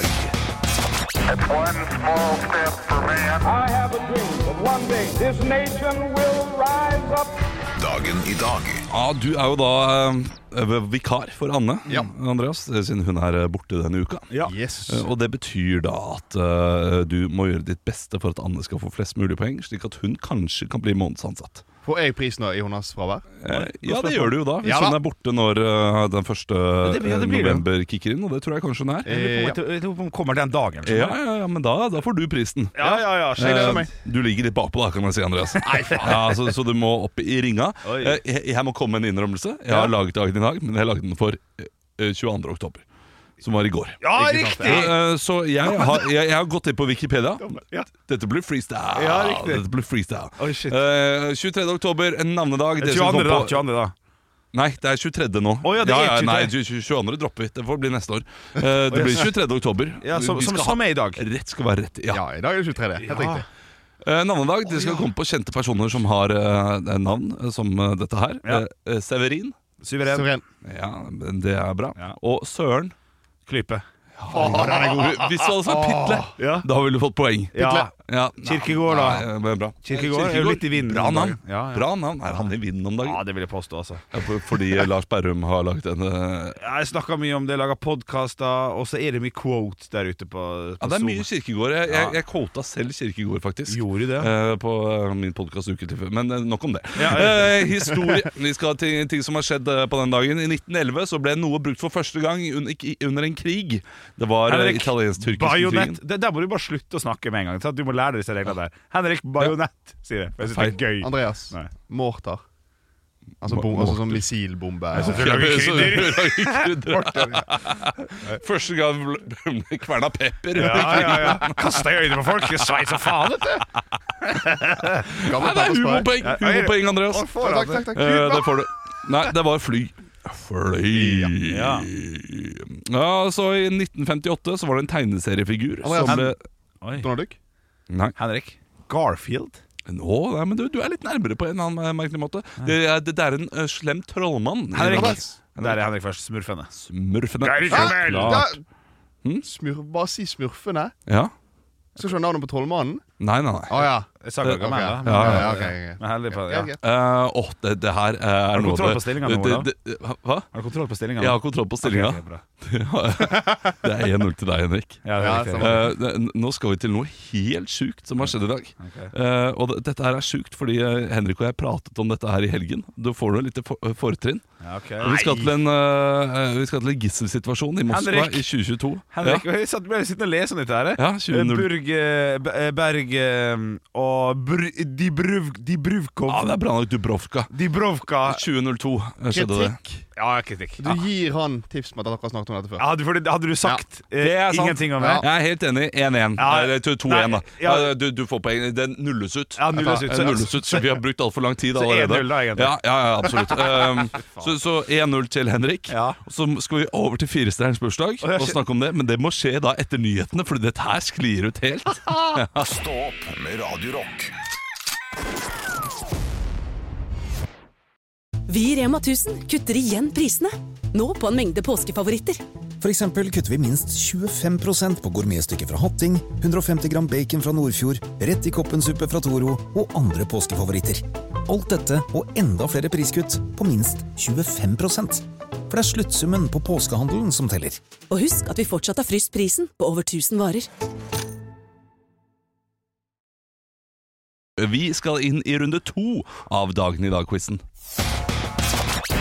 [SPEAKER 10] I have a dream that one day this nation will rise up.
[SPEAKER 5] Dagen i dag
[SPEAKER 7] Ja, Du er jo da eh, vikar for Anne, Andreas, siden hun er eh, borte denne uka. Eh, Og det betyr da at eh, du må gjøre ditt beste for at Anne skal få flest mulig poeng, slik at hun kanskje kan bli månedsansatt.
[SPEAKER 11] Får jeg pris nå i hennes fravær?
[SPEAKER 7] Eh, ja, det gjør du jo da, hvis
[SPEAKER 11] Ja da.
[SPEAKER 7] hun er borte når eh, den første
[SPEAKER 6] det blir- ja, det
[SPEAKER 7] eh,
[SPEAKER 6] blir det.
[SPEAKER 7] november kicker inn, og det tror jeg kanskje hun er.
[SPEAKER 11] Eh, ja.
[SPEAKER 6] Kommer den dagen.
[SPEAKER 7] Ja, ja, ja, men da, da får du prisen.
[SPEAKER 11] ja, ja, ja. Jeg gleder meg.
[SPEAKER 7] Eh, Du ligger litt bakpå da, kan jeg si, Andreas. ja, så, så du må opp i ringa.
[SPEAKER 11] Oi.
[SPEAKER 7] Eh, Jeg, jeg må komme med en innrømmelse. Jeg har laget dagen i dag, men jeg lagde den for eh, eh, 22. oktober. Som var i går.
[SPEAKER 11] Ja,
[SPEAKER 7] Ikke sant?
[SPEAKER 11] riktig!
[SPEAKER 7] Eh, Så jeg har, jeg, jeg har gått inn på Wikipedia. Dette blir freestyle.
[SPEAKER 11] Ja, riktig.
[SPEAKER 7] Dette blir freestyle.
[SPEAKER 11] Oi, shit.
[SPEAKER 7] Eh, 23. oktober, en navnedag. Det som
[SPEAKER 6] 22.
[SPEAKER 7] kom på-
[SPEAKER 6] da, 22. da.
[SPEAKER 7] Nei, det er 23. nå.
[SPEAKER 6] Å ja, det er 23.
[SPEAKER 7] Nei, 22. dropper vi. Det får bli neste år. Eh,
[SPEAKER 6] Å,
[SPEAKER 7] det blir
[SPEAKER 6] yes.
[SPEAKER 7] 23. oktober.
[SPEAKER 6] Ja, som-
[SPEAKER 7] Vi
[SPEAKER 6] som-
[SPEAKER 7] skal
[SPEAKER 6] som
[SPEAKER 7] ha-
[SPEAKER 6] er i dag.
[SPEAKER 7] Rett skal være rett. Ja,
[SPEAKER 11] i dag er det 23. Helt riktig.
[SPEAKER 7] Eh, navnedag. Det skal komme på kjente personer som har eh, navn eh, som eh, dette her.
[SPEAKER 6] Ja.
[SPEAKER 7] Eh, eh, Severin.
[SPEAKER 6] Suveren.
[SPEAKER 7] Ja, men det er bra. Og Søren.
[SPEAKER 6] Klype.
[SPEAKER 7] Ja, den er god. Hvis du hadde sagt Pitle,
[SPEAKER 6] Ja.
[SPEAKER 7] da ville du fått poeng.
[SPEAKER 6] Ja.
[SPEAKER 7] Ja.
[SPEAKER 6] Kirkegård, da.
[SPEAKER 7] Nei, men bra.
[SPEAKER 6] Kirkegård er jo litt i vinden
[SPEAKER 7] Bra
[SPEAKER 6] om dagen.
[SPEAKER 7] navn.
[SPEAKER 6] Ja, ja.
[SPEAKER 7] Bra navn. Er han i vinden om dagen?
[SPEAKER 6] Ja, det vil jeg påstå, altså.
[SPEAKER 7] Ja, for- Fordi Lars Berrum har lagt en eh,
[SPEAKER 6] Jeg snakker mye om det, lager podkaster, og så er det mye quotes der ute på, på
[SPEAKER 7] Ja, det er
[SPEAKER 6] Zoom.
[SPEAKER 7] mye kirkegård. Jeg, jeg,
[SPEAKER 6] Ja.
[SPEAKER 7] jeg quota selv kirkegård, faktisk.
[SPEAKER 6] Gjorde du det?
[SPEAKER 7] Eh, på eh, min podkast Uke til før. Men eh, nok om det.
[SPEAKER 6] Ja, ja.
[SPEAKER 7] Eh, historie. Vi skal til ting som har skjedd eh, på den dagen. I 1911 så ble noe brukt for første gang un i- under en krig. Det var eh,
[SPEAKER 6] Henrik,
[SPEAKER 7] italiensk-tyrkisk krigen.
[SPEAKER 6] Bajonett. Det- Der må du bare slutte å snakke med en gang. sant? Du må lære deg disse reglene der. Henrik Bajonett, sier jeg. For jeg synes det er gøy.
[SPEAKER 11] Andreas.
[SPEAKER 6] Nei.
[SPEAKER 11] Mortar. Altså,
[SPEAKER 7] Mo-
[SPEAKER 11] bom, altså sånn
[SPEAKER 7] mortar.
[SPEAKER 11] missilbombe.
[SPEAKER 6] Du lager
[SPEAKER 7] Så-
[SPEAKER 6] krydder.
[SPEAKER 7] du lager krydder. Første gang ble- ble kverna pepper.
[SPEAKER 6] Ja, ja, ja. Kaster i øynene på folk. Sveis som faen, vet du.
[SPEAKER 11] Gammel
[SPEAKER 7] Nei, det er
[SPEAKER 11] pepperspray.
[SPEAKER 7] humorpoeng! Humorpoeng, Andreas.
[SPEAKER 11] Takk, takk, takk.
[SPEAKER 7] Eh, det får du. Nei, det var fly. Fly
[SPEAKER 6] Ja.
[SPEAKER 7] Ja, så I 1958 så var det en tegneseriefigur
[SPEAKER 11] Andreas.
[SPEAKER 7] som ble
[SPEAKER 11] Donald Duck?
[SPEAKER 7] Nei.
[SPEAKER 6] Henrik. Garfield.
[SPEAKER 7] Nå, nei, men du, du er litt nærmere på en eller annen eh, merkelig måte. Det, er- det er en eh, slem trollmann.
[SPEAKER 6] Henrik. Der er Henrik først. Smurfene.
[SPEAKER 7] Smurfene.
[SPEAKER 11] Hæ?
[SPEAKER 7] Så
[SPEAKER 11] Ja.
[SPEAKER 7] klart.
[SPEAKER 11] Smurf, bare si Smurfene.
[SPEAKER 7] Ja.
[SPEAKER 11] Skal du ha navnet på trollmannen?
[SPEAKER 7] Nei, nei, nei.
[SPEAKER 11] Å ja.
[SPEAKER 6] Jeg
[SPEAKER 7] Øh,
[SPEAKER 6] sa ikke
[SPEAKER 11] Ok.
[SPEAKER 6] om henne, da, men-
[SPEAKER 11] Ja, ja, ok, ok.
[SPEAKER 6] men heldig på det.
[SPEAKER 11] Ja,
[SPEAKER 6] Ja.
[SPEAKER 11] ok.
[SPEAKER 7] Eh, Åh, det, det her eh, er
[SPEAKER 6] du
[SPEAKER 7] noe
[SPEAKER 6] kontroll
[SPEAKER 7] av det-
[SPEAKER 6] på stillingen nå, Olav?
[SPEAKER 7] det- det- Hva?
[SPEAKER 6] Har du kontroll på stillinga?
[SPEAKER 7] Jeg har kontroll på stillinga. det er 1-0 til deg, Henrik.
[SPEAKER 6] Ja, det er
[SPEAKER 11] Ja,
[SPEAKER 6] riktig.
[SPEAKER 11] samme.
[SPEAKER 7] Eh, det- n- nå skal vi til noe helt sjukt som har skjedd i dag. Eh, og det, dette her er sjukt, fordi eh, Henrik og jeg pratet om dette her i helgen. Da får du et lite for, eh, fortrinn.
[SPEAKER 6] Ja, ok.
[SPEAKER 7] Vi skal, til en, eh, eh, vi skal til en gisselsituasjon i Moskva
[SPEAKER 6] Henrik!
[SPEAKER 7] i 2022.
[SPEAKER 6] Henrik,
[SPEAKER 7] Ja.
[SPEAKER 6] jeg satt, ble sittende og lese om dette her. jeg.
[SPEAKER 7] Ja,
[SPEAKER 6] Eh,
[SPEAKER 7] 2000.
[SPEAKER 6] Burg, eh, B- eh, Berg eh, og Br Dibruv, Dibruvkov
[SPEAKER 7] ja, det er bra nok Dubrovka.
[SPEAKER 6] Dibrovka
[SPEAKER 7] 2002 skjedde det.
[SPEAKER 11] Kritikk.
[SPEAKER 6] Ja, kritikk.
[SPEAKER 11] Du gir han tips med at dere har snakket om dette før.
[SPEAKER 6] Hadde, for, det- hadde du sagt eh,
[SPEAKER 7] Det er sant.
[SPEAKER 6] ingenting om det?
[SPEAKER 11] Ja.
[SPEAKER 7] Jeg er helt enig. 1-1.
[SPEAKER 6] Ja.
[SPEAKER 7] Eller 2-1, da.
[SPEAKER 6] Ja.
[SPEAKER 7] Ja, Du, du får poeng. Den nulles ut.
[SPEAKER 6] Ja, nulles ut,
[SPEAKER 7] Ja,
[SPEAKER 6] så-
[SPEAKER 7] nulles ut, så vi har brukt altfor lang tid
[SPEAKER 6] Så
[SPEAKER 7] allerede.
[SPEAKER 6] 1-0 da, egentlig.
[SPEAKER 7] Ja, ja, ja absolutt. Um, så så 1-0 til Henrik.
[SPEAKER 6] Ja.
[SPEAKER 7] Og Så skal vi over til firestjernens bursdag
[SPEAKER 6] jeg
[SPEAKER 7] og
[SPEAKER 6] skj-
[SPEAKER 7] snakke om det, men det må skje da etter nyhetene, Fordi dette her sklir ut helt.
[SPEAKER 5] Stå opp med Radio Rock.
[SPEAKER 1] Vi i Rema 1000 kutter igjen prisene. Nå på en mengde påskefavoritter.
[SPEAKER 2] For eksempel kutter vi minst 25 på gourmetstykket fra Hatting, 150 gram bacon fra Nordfjord, rett i koppensuppe fra Toro og andre påskefavoritter. Alt dette og enda flere priskutt på minst 25 For det er sluttsummen på påskehandelen som teller.
[SPEAKER 1] Og husk at vi fortsatt har fryst prisen på over 1000 varer.
[SPEAKER 7] Vi skal inn i runde to av Dagen i dag-quizen.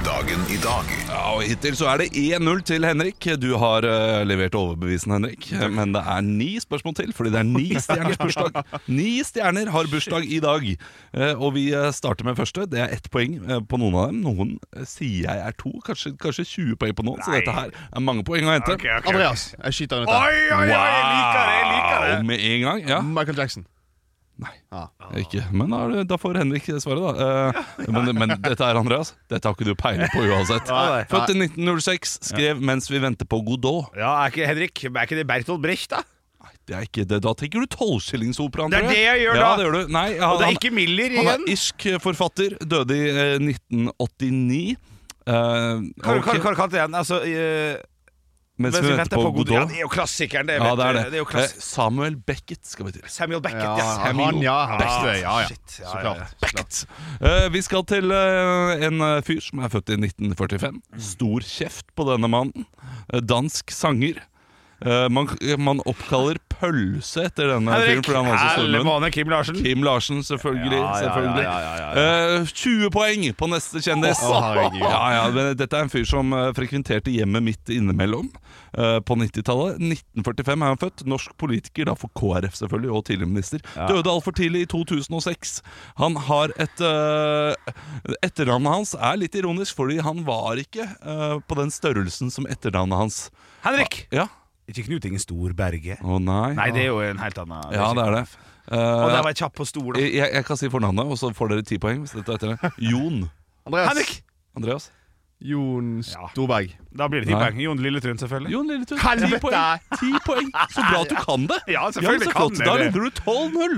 [SPEAKER 5] Dagen i dag.
[SPEAKER 7] Ja, og Hittil så er det 1-0 til Henrik. Du har eh, levert overbevisende, Henrik. Men det er ni spørsmål til, fordi det er ni stjerners bursdag. Ni stjerner har bursdag i dag. Eh, og vi eh, starter med første. Det er ett poeng eh, på noen av dem. Noen eh, sier jeg er to, kanskje, kanskje 20 poeng på noen. Så dette her er mange poeng å hente.
[SPEAKER 6] Ok, ok.
[SPEAKER 11] Andreas, jeg skyter han ut
[SPEAKER 6] Oi,
[SPEAKER 11] her.
[SPEAKER 6] oi, oi, jeg liker det! jeg liker
[SPEAKER 7] Wow,
[SPEAKER 6] det
[SPEAKER 7] Med en gang, ja.
[SPEAKER 11] Michael Jackson.
[SPEAKER 7] Nei,
[SPEAKER 11] Ja.
[SPEAKER 7] ikke. Men da, er det- da får Henrik svaret, da. Eh, men, men dette er Andreas. Dette har ikke du peiling på uansett.
[SPEAKER 6] Nei.
[SPEAKER 7] Født i 1906, skrev 'Mens vi venter på Godot'.
[SPEAKER 6] Ja, er ikke, Henrik, er ikke det Bertolt Brecht, da?
[SPEAKER 7] Det er ikke det. Da tenker du tolvskillingsoperaen.
[SPEAKER 6] Det er
[SPEAKER 7] tror
[SPEAKER 6] det jeg gjør
[SPEAKER 7] ja,
[SPEAKER 6] da.
[SPEAKER 7] Det gjør du. Nei, han,
[SPEAKER 6] Og det er ikke Miller
[SPEAKER 7] han,
[SPEAKER 6] igjen?
[SPEAKER 7] han er irsk forfatter. Døde i eh, 1989. Eh,
[SPEAKER 6] Hva
[SPEAKER 7] ok.
[SPEAKER 6] hva- hva kalte jeg den? Altså, eh,
[SPEAKER 7] Mens vi venter på Godot.
[SPEAKER 6] Ja, det er jo klassikeren, det.
[SPEAKER 7] Ja,
[SPEAKER 6] vet
[SPEAKER 7] det er det.
[SPEAKER 6] du. det er jo
[SPEAKER 7] Eh,
[SPEAKER 6] klass
[SPEAKER 7] Samuel Beckett skal vi til.
[SPEAKER 6] Samuel Beckett,
[SPEAKER 11] Ja,
[SPEAKER 6] ja.
[SPEAKER 11] han, ja. Han visste det. Ja, ja.
[SPEAKER 6] Shit, ja,
[SPEAKER 11] Så
[SPEAKER 6] ja, ja.
[SPEAKER 11] klart.
[SPEAKER 7] Beckett. Eh, vi skal til eh, en eh, fyr som er født i 1945. Stor kjeft på denne mannen. Eh, dansk sanger. Eh, man, man oppkaller pølse etter denne
[SPEAKER 12] Henrik,
[SPEAKER 7] fyren. fordi han var så stormund.
[SPEAKER 12] helvane, Kim Larsen.
[SPEAKER 7] Kim Larsen, selvfølgelig.
[SPEAKER 12] Ja, ja, ja,
[SPEAKER 7] selvfølgelig.
[SPEAKER 12] ja, ja,
[SPEAKER 7] Eh, 20 poeng på neste kjendis.
[SPEAKER 12] Å, herregud.
[SPEAKER 7] ja, ja, men dette er en fyr som eh, frekventerte hjemmet mitt innimellom eh, på 90-tallet. 1945 er han født. Norsk politiker, da for KrF selvfølgelig, og tidligere minister. Døde altfor tidlig i 2006. Han har et eh, Etternavnet hans er litt ironisk, fordi han var ikke eh, på den størrelsen som etternavnet hans.
[SPEAKER 12] Henrik!
[SPEAKER 7] Ja.
[SPEAKER 6] Ikke Knut Inge Storberget?
[SPEAKER 7] Å nei.
[SPEAKER 12] Nei, det er jo en helt annen
[SPEAKER 7] Ja, det er det.
[SPEAKER 12] Og der var jeg kjapp på stol.
[SPEAKER 7] Jeg, Eh, jeg, jeg kan si fornavnet, og så får dere ti poeng. Hvis dette er etter det. Jon.
[SPEAKER 11] Andreas.
[SPEAKER 12] Henrik!
[SPEAKER 7] Andreas.
[SPEAKER 11] Jon Storberg.
[SPEAKER 12] Da blir det ti poeng. Jon Lilletun, selvfølgelig.
[SPEAKER 7] Jon Lilletun,
[SPEAKER 12] Helvete!
[SPEAKER 7] ti poeng. Ti poeng. Så bra at du kan det!
[SPEAKER 12] Ja,
[SPEAKER 7] Ja, men
[SPEAKER 12] selvfølgelig
[SPEAKER 7] så
[SPEAKER 12] kan
[SPEAKER 7] flott.
[SPEAKER 12] jeg
[SPEAKER 7] Da
[SPEAKER 12] det.
[SPEAKER 7] leder du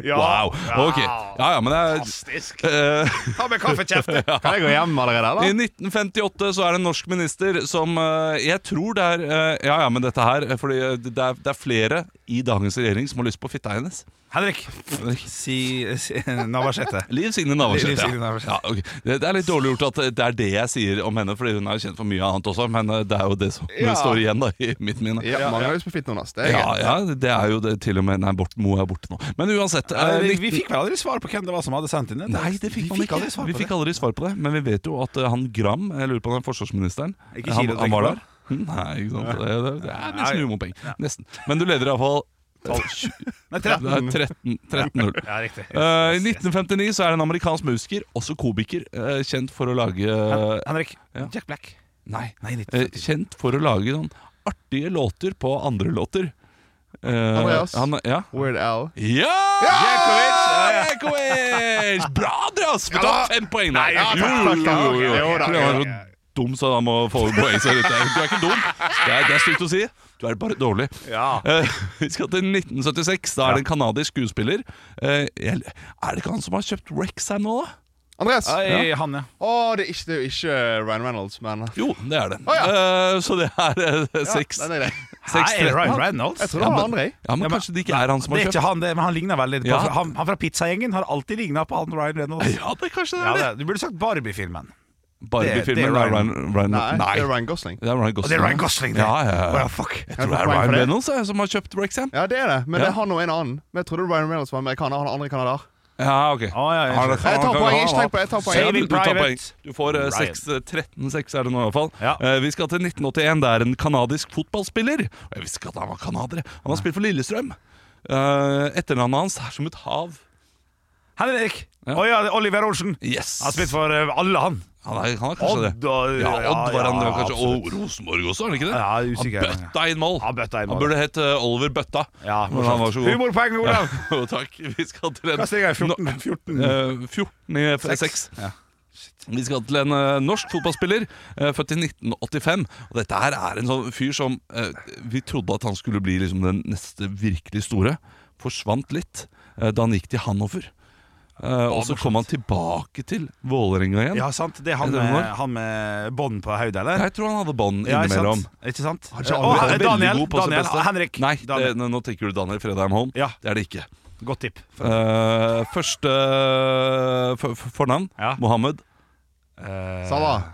[SPEAKER 7] 12-0!
[SPEAKER 12] Ja.
[SPEAKER 7] Wow. Ok.
[SPEAKER 12] Wow.
[SPEAKER 7] Ja, ja, men det er
[SPEAKER 12] Fantastisk.
[SPEAKER 7] Ta
[SPEAKER 12] med kaffekjefter. Kan jeg gå hjem allerede, eller?
[SPEAKER 7] I 1958 så er det en norsk minister som eh, Jeg tror det er eh, Ja, ja, men dette her eh, Fordi eh, det er, det er flere i dagens regjering som har lyst på fitta hennes.
[SPEAKER 6] Henrik! Si, si Navarsete.
[SPEAKER 7] Liv Signe Navarsete.
[SPEAKER 6] Liv Signe
[SPEAKER 7] ja.
[SPEAKER 6] Navarsete.
[SPEAKER 7] Ja, ok. det, det er litt dårlig gjort at eh, det er det jeg sier om henne, Fordi hun er jo kjent for mye annet også, men eh, det er jo det som
[SPEAKER 11] Ja.
[SPEAKER 7] står igjen da i mitt minne.
[SPEAKER 11] Ja, mange har lyst på fitten hans. Det er
[SPEAKER 7] Ja,
[SPEAKER 11] greit.
[SPEAKER 7] ja, det er jo det til og med Nei, Borten Moe er borte nå. Men uansett eh,
[SPEAKER 6] vi, vi
[SPEAKER 7] nitten-
[SPEAKER 6] fikk vel aldri svar på hvem det var som hadde sendt inn det?
[SPEAKER 7] Nei, det fikk
[SPEAKER 6] vi
[SPEAKER 7] man
[SPEAKER 6] fikk
[SPEAKER 7] ikke.
[SPEAKER 6] aldri svar
[SPEAKER 7] vi
[SPEAKER 6] på
[SPEAKER 7] fikk
[SPEAKER 6] det.
[SPEAKER 7] aldri svar på det, men vi vet jo at eh, han Gram, jeg lurer på om det er forsvarsministeren
[SPEAKER 6] Ikke
[SPEAKER 7] han,
[SPEAKER 6] Kile å
[SPEAKER 7] han
[SPEAKER 6] tenke
[SPEAKER 7] var
[SPEAKER 6] på.
[SPEAKER 7] der. Hm, Nei, ikke sant. Det, det, det er nesten
[SPEAKER 6] Nei.
[SPEAKER 7] humorpoeng. Nesten. Men du leder iallfall
[SPEAKER 6] Nei, 13.
[SPEAKER 7] 13-0.
[SPEAKER 6] Ja, riktig.
[SPEAKER 7] Eh, I 1959 så er det en amerikansk musiker, også komiker, eh, kjent for å lage eh,
[SPEAKER 6] Henrik.
[SPEAKER 7] ja.
[SPEAKER 6] Jack Black.
[SPEAKER 7] Nei.
[SPEAKER 6] Nei, litt-
[SPEAKER 7] Eh, kjent for å lage sånn artige låter på andre låter. Eh,
[SPEAKER 11] Andreas.
[SPEAKER 7] han- ja.
[SPEAKER 11] Weird Al.
[SPEAKER 7] Ja!
[SPEAKER 11] Jekovic! Ja, ja.
[SPEAKER 7] Jekovic! Bra, Andreas! Vi tar fem poeng der.
[SPEAKER 11] ja, takk, takk, takk.
[SPEAKER 7] Jo, jo, jo, jo.
[SPEAKER 11] Jo da,
[SPEAKER 7] Fordi han
[SPEAKER 11] jo
[SPEAKER 7] er så dum, så han må få poeng. Så dette er- du er ikke dum. Det er, det er stygt å si. Du er bare dårlig. Eh, vi skal til 1976. Da er det en kanadisk skuespiller. Eh, jeg- er det ikke han som har kjøpt Rexham nå, da?
[SPEAKER 11] Andreas.
[SPEAKER 7] Ei, Ja.
[SPEAKER 6] han, ja.
[SPEAKER 11] Å, det er ikke, det er jo ikke Ryan Reynolds, men
[SPEAKER 7] Jo, det er det. Eh, så det er eh, seks.
[SPEAKER 11] den er grei.
[SPEAKER 7] seks-
[SPEAKER 6] Nei, Ryan
[SPEAKER 7] Han-
[SPEAKER 6] Reynolds? Jeg tror
[SPEAKER 7] Ja,
[SPEAKER 6] det var
[SPEAKER 7] men-
[SPEAKER 6] Andrei.
[SPEAKER 7] Ja, men
[SPEAKER 6] Ja, men-
[SPEAKER 7] kanskje det ikke er han som har
[SPEAKER 6] Det er
[SPEAKER 7] kjøpt.
[SPEAKER 6] ikke han, det, men han ligner veldig på
[SPEAKER 7] Ja.
[SPEAKER 6] han, han fra pizzagjengen har alltid ligna på han Ryan Reynolds.
[SPEAKER 7] Ja, det kanskje det
[SPEAKER 6] Ja,
[SPEAKER 7] er det.
[SPEAKER 6] det, du burde sagt Barbie-filmen. Det- det
[SPEAKER 7] Barbie-filmen
[SPEAKER 6] er
[SPEAKER 7] er
[SPEAKER 6] Ryan-
[SPEAKER 7] Ryan, Ryan
[SPEAKER 11] Nei, det er Ryan Gosling.
[SPEAKER 7] Det er Ryan
[SPEAKER 6] Og
[SPEAKER 7] Gosling.
[SPEAKER 6] det er Ryan Gosling, det.
[SPEAKER 7] Ja, ja, ja.
[SPEAKER 6] Å, ja, fuck.
[SPEAKER 7] Jeg
[SPEAKER 11] Er det
[SPEAKER 7] tror det er
[SPEAKER 11] poeng for
[SPEAKER 7] Ryan
[SPEAKER 11] det?
[SPEAKER 7] Reynolds jeg, som har kjøpt Rexham.
[SPEAKER 11] Ja, det er det. Men
[SPEAKER 7] Ja.
[SPEAKER 11] det er han og en annen. Men jeg trodde Ryan Reynolds var amerikaner. Han er andre kanadier.
[SPEAKER 7] Ja, ok.
[SPEAKER 6] ja, jeg
[SPEAKER 7] Han
[SPEAKER 11] skjønner.
[SPEAKER 7] er-
[SPEAKER 11] Jeg tar
[SPEAKER 7] han kan-
[SPEAKER 11] poeng, ikke
[SPEAKER 7] han-
[SPEAKER 11] tenk på det, jeg tar poeng.
[SPEAKER 7] Ja, du-
[SPEAKER 11] Saving
[SPEAKER 7] du tar
[SPEAKER 11] Private
[SPEAKER 7] poeng. Du får eh,
[SPEAKER 11] Ryan.
[SPEAKER 7] seks, eh, 13-6 er det nå i hvert fall.
[SPEAKER 6] Ja.
[SPEAKER 7] Eh, vi skal til 1981. Det er en kanadisk fotballspiller. Og Jeg visste ikke at han var kanadier. Han har spilt for Lillestrøm. Eh, etternavnet hans er som et hav.
[SPEAKER 6] Henrik! Å ja, det er Oliver Olsen.
[SPEAKER 7] Yes.
[SPEAKER 6] Han har spilt for eh, alle, han.
[SPEAKER 7] Han er, han er kanskje
[SPEAKER 6] Odd
[SPEAKER 7] det.
[SPEAKER 6] og-
[SPEAKER 7] ja, Odd var
[SPEAKER 6] ja,
[SPEAKER 7] han det
[SPEAKER 6] ja,
[SPEAKER 7] var kanskje. Og
[SPEAKER 6] absolutt.
[SPEAKER 7] Rosenborg også, er det ikke det?
[SPEAKER 6] Ja, jeg er usikker.
[SPEAKER 7] han bøtta inn mål.
[SPEAKER 6] Han bøtta inn
[SPEAKER 7] Han
[SPEAKER 6] mål.
[SPEAKER 7] burde hett eh, Oliver Bøtta.
[SPEAKER 6] Ja,
[SPEAKER 7] men han var så god.
[SPEAKER 6] Humorpoeng, Olav!
[SPEAKER 7] Ja, jo, takk. Vi skal til en
[SPEAKER 6] Hva steg jeg? 14? 14.
[SPEAKER 7] Eh, 14 i f- 6. Vi skal til en eh, norsk fotballspiller, eh, født i 1985. Og dette her er en sånn fyr som eh, Vi trodde at han skulle bli liksom den neste virkelig store. Forsvant litt eh, da han gikk til Hannover. Eh, og så kom han tilbake til Vålerenga igjen.
[SPEAKER 6] Ja, sant. Det er han
[SPEAKER 7] Er det
[SPEAKER 6] med,
[SPEAKER 7] noe?
[SPEAKER 6] han med bånd på hodet, eller?
[SPEAKER 7] Jeg tror han hadde
[SPEAKER 6] Ja,
[SPEAKER 7] bånd
[SPEAKER 6] ikke sant?
[SPEAKER 7] innimellom.
[SPEAKER 6] Ikke sant?
[SPEAKER 7] Han er
[SPEAKER 6] Eh,
[SPEAKER 7] ikke aldri-
[SPEAKER 6] og,
[SPEAKER 7] han
[SPEAKER 6] eh,
[SPEAKER 7] er veldig
[SPEAKER 6] Daniel,
[SPEAKER 7] god på sitt
[SPEAKER 6] Daniel,
[SPEAKER 7] beste.
[SPEAKER 6] Henrik.
[SPEAKER 7] Nei,
[SPEAKER 6] Daniel.
[SPEAKER 7] Det, nå tenker du Daniel Fredheim Holm.
[SPEAKER 6] Ja.
[SPEAKER 7] Det er det ikke.
[SPEAKER 6] Godt tipp.
[SPEAKER 7] Eh, første eh, for, for- fornavn Mohammed.
[SPEAKER 6] Eh,
[SPEAKER 11] Salah.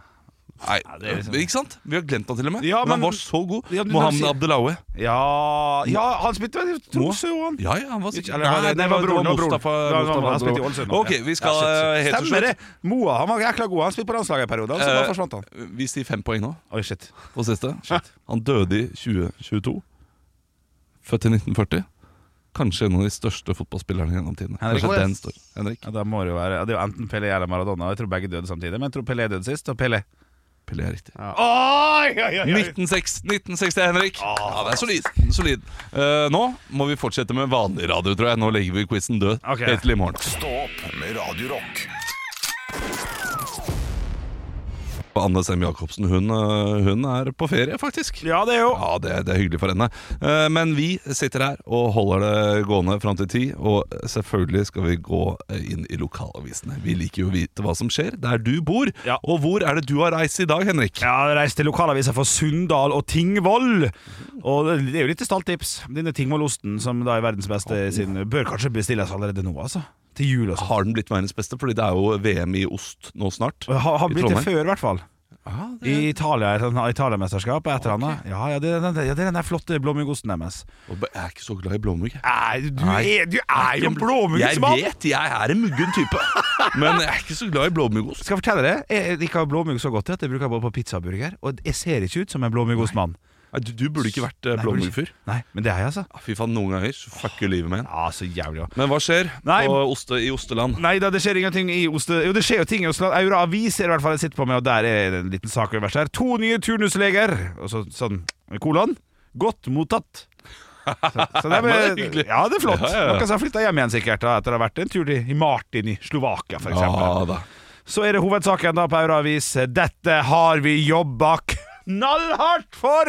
[SPEAKER 7] Nei,
[SPEAKER 6] det er liksom-
[SPEAKER 7] Ikke sant? Vi har glemt han til og med.
[SPEAKER 6] Ja,
[SPEAKER 7] men,
[SPEAKER 6] men-
[SPEAKER 7] han var så god.
[SPEAKER 6] Ja, men du-
[SPEAKER 7] Mohammed
[SPEAKER 6] du-
[SPEAKER 7] Abdelawi.
[SPEAKER 6] Ja, ja han spilte vel i Tromsø, jo, han.
[SPEAKER 7] Ja, ja, han var
[SPEAKER 6] Ikke-
[SPEAKER 7] sikkert
[SPEAKER 6] eller var det- nei, var broren, var broren.
[SPEAKER 7] Mustafa,
[SPEAKER 6] Det var-
[SPEAKER 7] Mustafa
[SPEAKER 6] Han spilte i
[SPEAKER 7] Abdelawi.
[SPEAKER 6] Ålesund.
[SPEAKER 7] Ok, vi skal
[SPEAKER 6] Ja, shit,
[SPEAKER 7] eh,
[SPEAKER 6] shit.
[SPEAKER 7] helt til
[SPEAKER 6] Stemmer
[SPEAKER 7] slutt
[SPEAKER 6] det! Moa han var jækla god. Han spilte på landslaget en periode, og så
[SPEAKER 7] Eh,
[SPEAKER 6] bare forsvant han.
[SPEAKER 7] Vi sier fem poeng nå
[SPEAKER 6] Oi, shit.
[SPEAKER 7] på siste. Han døde i 2022. Født i 1940. Kanskje en av de største fotballspillerne gjennom tidene.
[SPEAKER 6] Henrik.
[SPEAKER 7] Kanskje den står Henrik.
[SPEAKER 6] Ja, det, må det jo være. det er jo enten Pelé eller Maradona. Jeg tror begge døde samtidig. Men jeg tror Pelé døde sist, og Pelé
[SPEAKER 7] Pelé er riktig.
[SPEAKER 6] Oi, oi, oi, oi.
[SPEAKER 7] 1906, 1960, Henrik.
[SPEAKER 6] Ah.
[SPEAKER 7] Ja, det er solid. solid. Eh, nå må vi fortsette med vanlig radio, tror jeg. Nå legger vi quizen død
[SPEAKER 6] Ok.
[SPEAKER 7] helt til i morgen.
[SPEAKER 5] Stå opp med Radio Rock.
[SPEAKER 7] Og Anne Sem Jacobsen hun, øh, hun er på ferie, faktisk.
[SPEAKER 6] Ja, det er jo
[SPEAKER 7] Ja, det, det er hyggelig for henne. Eh, Men vi sitter her og holder det gående fram til ti. Og selvfølgelig skal vi gå eh, inn i lokalavisene. Vi liker jo å vite hva som skjer der du bor. Og hvor er det du har reist i dag, Henrik?
[SPEAKER 6] Ja, jeg reiste til lokalaviser for Sunndal og Tingvoll. Og det er jo litt stolt tips. Denne Tingvollosten, som da er verdens beste sin, bør kanskje bestilles allerede nå, altså. Til jul og sånn.
[SPEAKER 7] Har den blitt verdens beste? Fordi det er jo VM i ost nå snart.
[SPEAKER 6] Har, har
[SPEAKER 7] i
[SPEAKER 6] blitt det
[SPEAKER 7] Trondheim.
[SPEAKER 6] før, i hvert fall. I Italia, et eller annet Italiamesterskap et eller annet. Ja, ja, det, er den- ja, det er den der flotte blåmuggosten deres.
[SPEAKER 7] Jeg er ikke så glad i blåmugg.
[SPEAKER 6] Nei, du er, du er jo en
[SPEAKER 7] Jeg
[SPEAKER 6] blåmuggsmann!
[SPEAKER 7] vet, jeg er en muggen type. Men jeg er ikke så glad i blåmuggost.
[SPEAKER 6] Skal jeg fortelle deg, jeg liker blåmugg så godt at jeg bruker det både på pizza og burger. Og jeg ser ikke ut som en blåmuggostmann.
[SPEAKER 7] Du, du burde ikke vært eh,
[SPEAKER 6] Nei, burde ikke.
[SPEAKER 7] blåmuggfyr. Ah,
[SPEAKER 6] Nei, men det er jeg, altså.
[SPEAKER 7] Fy faen, noen ganger så fucker livet med en.
[SPEAKER 6] Ja, så jævlig også.
[SPEAKER 7] Men hva skjer
[SPEAKER 6] Nei.
[SPEAKER 7] på oste, i osteland?
[SPEAKER 6] Nei da, det skjer ingenting i Oste... Jo, det skjer jo ting i Oslo. Aura Avis er det i hvert fall jeg sitter på med, og der er det en liten sak øverst her. To nye turnusleger! Og så sånn kolon. Godt mottatt. Så, så det, er,
[SPEAKER 7] Men det er hyggelig.
[SPEAKER 6] ja, det er flott.
[SPEAKER 7] Ja, ja, ja.
[SPEAKER 6] Noen som har flytta hjem igjen, sikkert, da, etter å ha vært en tur til i Martin i Slovakia, f.eks.
[SPEAKER 7] Ja da.
[SPEAKER 6] Så er det hovedsaken da på Aura Avis. Dette har vi jobba knallhardt for!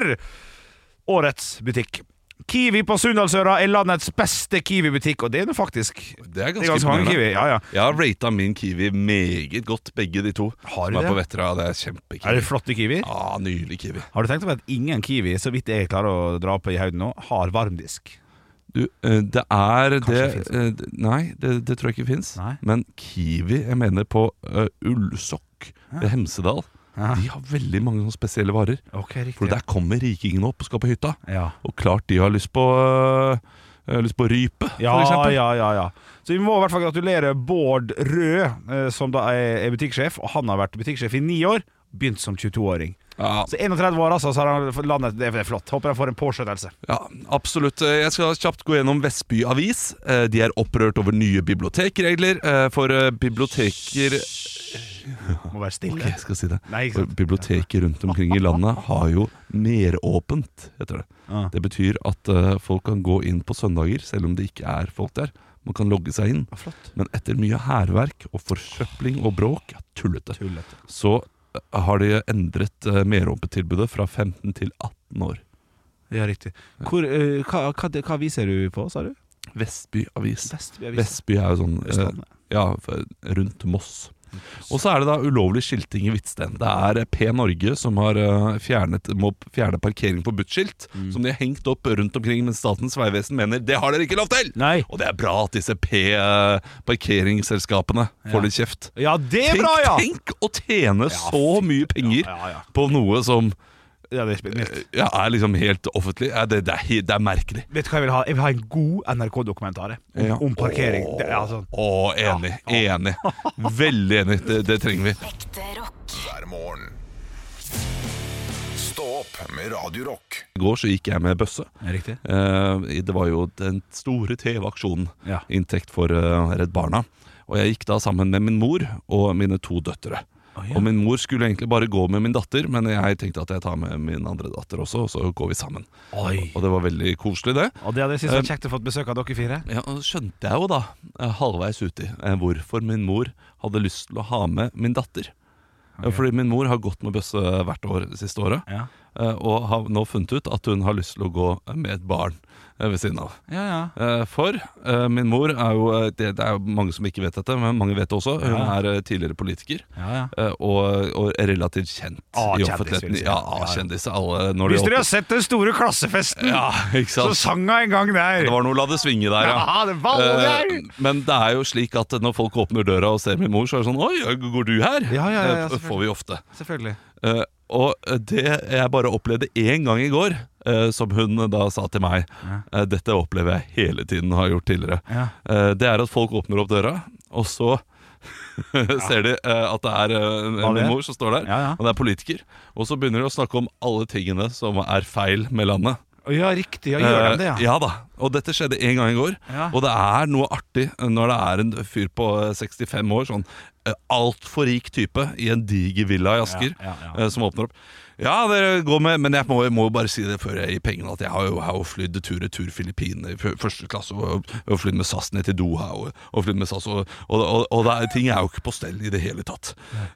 [SPEAKER 6] Årets butikk. Kiwi på Sunndalsøra er landets beste Kiwi-butikk, og det er det faktisk.
[SPEAKER 7] Det er ganske,
[SPEAKER 6] mange
[SPEAKER 7] imponerende.
[SPEAKER 6] Kiwi. Ja, ja.
[SPEAKER 7] Jeg har rata min Kiwi meget godt, begge de to.
[SPEAKER 6] Har du
[SPEAKER 7] som er
[SPEAKER 6] det?
[SPEAKER 7] på Vettra. Det er kjempekiwi.
[SPEAKER 6] Er det flotte kiwier?
[SPEAKER 7] Ja, nydelig Kiwi.
[SPEAKER 6] Har du tenkt over at ingen kiwi, så vidt jeg klarer å dra på i høyden nå, har varmdisk?
[SPEAKER 7] Du, eh, det er det,
[SPEAKER 6] det finnes.
[SPEAKER 7] eh, d- Nei, det, det tror jeg ikke fins. Men Kiwi, jeg mener på eh, Ullsokk ved Hemsedal. De har veldig mange sånne spesielle varer.
[SPEAKER 6] Ok, riktig.
[SPEAKER 7] For der kommer rikingene opp og skal på hytta.
[SPEAKER 6] Ja.
[SPEAKER 7] Og klart de har lyst på eh, eh, Lyst på rype,
[SPEAKER 6] Ja,
[SPEAKER 7] for eksempel.
[SPEAKER 6] ja, ja, ja. Så vi må i hvert fall gratulere Bård Rød, eh, som da er er butikksjef. Og han har vært butikksjef i ni år, begynt som 22-åring. Så 31 år, altså, så har han fått landet Det er flott. Håper han får en påskjøttelse.
[SPEAKER 7] Ja, absolutt. Eh, Jeg skal kjapt gå gjennom Vestby Avis. Eh, De er opprørt over nye bibliotekregler. eh, For eh, biblioteker
[SPEAKER 6] Må være stille.
[SPEAKER 7] Ok, jeg skal si det.
[SPEAKER 6] Nei, ikke
[SPEAKER 7] For
[SPEAKER 6] sant.
[SPEAKER 7] biblioteket rundt omkring i landet har jo meråpent, heter det.
[SPEAKER 6] Ja.
[SPEAKER 7] Det betyr at eh, folk kan gå inn på søndager, selv om det ikke er folk der. Man kan logge seg inn. Men etter mye hærverk og forsøpling og bråk, ja, tullete, så eh, har de endret eh, meråpent-tilbudet fra 15 til 18 år.
[SPEAKER 6] Ja, riktig. Hvor, eh, hva, hva, hva viser du på, sa du?
[SPEAKER 7] Vestby Avis.
[SPEAKER 6] Vestby Avis.
[SPEAKER 7] Vestby er jo sånn
[SPEAKER 6] Østlandet.
[SPEAKER 7] eh, Ja, f- rundt Moss. Og så er det da ulovlig skilting i Hvitsten. Det er eh, P Norge som har eh, fjernet, må p- fjerne parkering på buttskilt,
[SPEAKER 6] Mm.
[SPEAKER 7] som de har hengt opp rundt omkring, men Statens vegvesen mener det har dere ikke lov til! Og det er bra at disse P-parkeringsselskapene får litt kjeft.
[SPEAKER 6] Ja, det er
[SPEAKER 7] tenk,
[SPEAKER 6] bra, ja!
[SPEAKER 7] Tenk å tjene så mye penger på noe som
[SPEAKER 6] ja, det er,
[SPEAKER 7] ja, er liksom helt offentlig. Ja, det, det, er, he- det er merkelig.
[SPEAKER 6] Vet du hva jeg vil ha? Jeg vil ha en god NRK-dokumentar jeg. om,
[SPEAKER 7] Ja.
[SPEAKER 6] om parkering. Det, er altså,
[SPEAKER 7] Å, enig. Enig. Veldig enig. Det, det trenger vi.
[SPEAKER 5] hver morgen. Stå opp med Radio Rock.
[SPEAKER 7] I går så gikk jeg med bøsse.
[SPEAKER 6] Riktig.
[SPEAKER 7] Eh, det var jo den store TV-aksjonen.
[SPEAKER 6] Ja.
[SPEAKER 7] Inntekt for eh, Redd Barna. Og jeg gikk da sammen med min mor og mine to døtre. Og min mor skulle egentlig bare gå med min datter, men jeg tenkte at jeg tar med min andre datter også, og så går vi sammen.
[SPEAKER 6] Oi.
[SPEAKER 7] Og det var veldig koselig, det.
[SPEAKER 6] og det hadde jeg syntes
[SPEAKER 7] Eh,
[SPEAKER 6] vært kjekt å få besøk av dere fire.
[SPEAKER 7] Ja, og skjønte jeg jo da, eh, halvveis uti, eh, hvorfor min mor hadde lyst til å ha med min datter. Eh, Fordi min mor har gått med bøsse hvert år det siste året,
[SPEAKER 6] Ja.
[SPEAKER 7] eh, og har nå funnet ut at hun har lyst til å gå med et barn eh, ved siden av.
[SPEAKER 6] Ja,
[SPEAKER 7] Eh, For eh, min mor er jo eh, det, det er jo mange som ikke vet dette, men mange vet det også. Hun
[SPEAKER 6] Ja.
[SPEAKER 7] er eh, tidligere politiker.
[SPEAKER 6] Ja, ja.
[SPEAKER 7] eh, Og, og er relativt kjent
[SPEAKER 6] Ah, kjendis,
[SPEAKER 7] i
[SPEAKER 6] vil
[SPEAKER 7] offentligheten.
[SPEAKER 6] jeg si.
[SPEAKER 7] Ja,
[SPEAKER 6] Ja, ja.
[SPEAKER 7] kjendis. Alle når de
[SPEAKER 6] Hvis dere
[SPEAKER 7] åpner-
[SPEAKER 6] har sett den store klassefesten,
[SPEAKER 7] Ja, ikke sant?
[SPEAKER 6] så sang hun en gang der.
[SPEAKER 7] Det var noe la det svinge der, ja.
[SPEAKER 6] Ja, det var noe
[SPEAKER 7] Eh,
[SPEAKER 6] der.
[SPEAKER 7] Men det er jo slik at når folk åpner døra og ser min mor, så er det sånn Oi, går du her?
[SPEAKER 6] Ja, ja, ja, ja,
[SPEAKER 7] Eh, Får vi ofte.
[SPEAKER 6] Selvfølgelig.
[SPEAKER 7] Eh, og det jeg bare opplevde én gang i går, eh, som hun da sa til meg eh, Dette opplever jeg hele tiden og har gjort tidligere.
[SPEAKER 6] Ja.
[SPEAKER 7] Eh, det er at folk åpner opp døra, og så ser de eh, at det er eh,
[SPEAKER 6] Hva det
[SPEAKER 7] min
[SPEAKER 6] er?
[SPEAKER 7] mor som står der,
[SPEAKER 6] Ja, ja.
[SPEAKER 7] og det er politiker. Og så begynner de å snakke om alle tingene som er feil med landet.
[SPEAKER 6] Å, Ja, riktig. Ja, gjør de det,
[SPEAKER 7] Eh,
[SPEAKER 6] ja?
[SPEAKER 7] da. Og dette skjedde en gang i går.
[SPEAKER 6] Ja.
[SPEAKER 7] Og det er noe artig når det er en fyr på eh, 65 år, sånn eh, altfor rik type, i en diger villa i Asker,
[SPEAKER 6] Ja, ja,
[SPEAKER 7] eh, som åpner opp. Ja, det går med, men jeg må, jeg må jo bare si det før jeg gir pengene, at jeg har jo, har jo flydd tur-retur Filippinene i fø- første klasse, og, og flydd med SAS ned til Doha, og, og flydd med SAS, og, og, og, og det er, ting er jo ikke på stell i det hele tatt.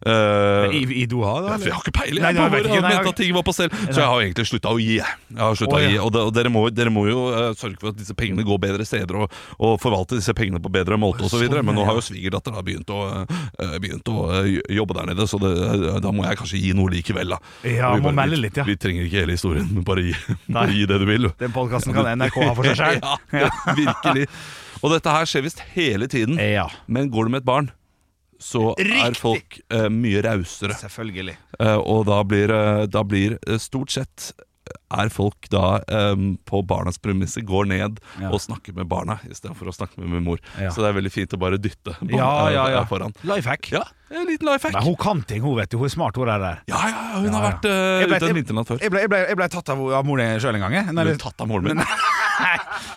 [SPEAKER 7] Eh,
[SPEAKER 6] I, I Doha, da? eller?
[SPEAKER 7] jeg har ikke peiling
[SPEAKER 6] Nei,
[SPEAKER 7] jeg
[SPEAKER 6] nei,
[SPEAKER 7] på
[SPEAKER 6] jeg vet
[SPEAKER 7] hvor
[SPEAKER 6] ikke.
[SPEAKER 7] han
[SPEAKER 6] Nei, jeg-
[SPEAKER 7] mente at ting var på selv. Så jeg har egentlig slutta å gi. Jeg har sluttet
[SPEAKER 6] Å, ja.
[SPEAKER 7] å gi Og, det, og dere, må, dere må jo eh, sørge for at disse pengene går bedre steder, og, og forvalte disse pengene på bedre måte osv.
[SPEAKER 6] Sånn,
[SPEAKER 7] videre Men nå
[SPEAKER 6] ja.
[SPEAKER 7] har jo svigerdatter da begynt å, eh, begynt å eh, jobbe der nede, så det, eh, da må jeg kanskje gi noe likevel, da.
[SPEAKER 6] Ja,
[SPEAKER 7] Og vi
[SPEAKER 6] må
[SPEAKER 7] bare-
[SPEAKER 6] melde litt, ja.
[SPEAKER 7] Vi trenger ikke hele historien, men bare gi, bare gi det du vil. du.
[SPEAKER 6] Den podkasten kan NRK ha for seg selv
[SPEAKER 7] ja, det- virkelig. Og dette her skjer visst hele tiden. Men går du med et barn, så er
[SPEAKER 6] Riktig.
[SPEAKER 7] folk eh, mye rausere.
[SPEAKER 6] Selvfølgelig.
[SPEAKER 7] Eh, og da blir, eh, da blir eh, stort sett er folk da eh, på barnas premisser går ned
[SPEAKER 6] Ja.
[SPEAKER 7] og snakker med barna istedenfor å snakke med min mor.
[SPEAKER 6] Ja.
[SPEAKER 7] Så det er veldig fint å bare dytte barna,
[SPEAKER 6] Ja, ja,
[SPEAKER 7] eh,
[SPEAKER 6] ja.
[SPEAKER 7] foran.
[SPEAKER 6] Life hack.
[SPEAKER 7] Ja, en liten life hack.
[SPEAKER 6] Men hun kan ting, hun vet du. Hun er smart, hun der. der.
[SPEAKER 7] Ja, ja, hun har vært eh,
[SPEAKER 6] Jeg ble-
[SPEAKER 7] ute en
[SPEAKER 6] jeg-
[SPEAKER 7] vinternatt før.
[SPEAKER 6] Jeg ble, jeg ble, jeg ble tatt av, av moren din sjøl en gang. Du
[SPEAKER 7] ble tatt av moren min?
[SPEAKER 6] Nei,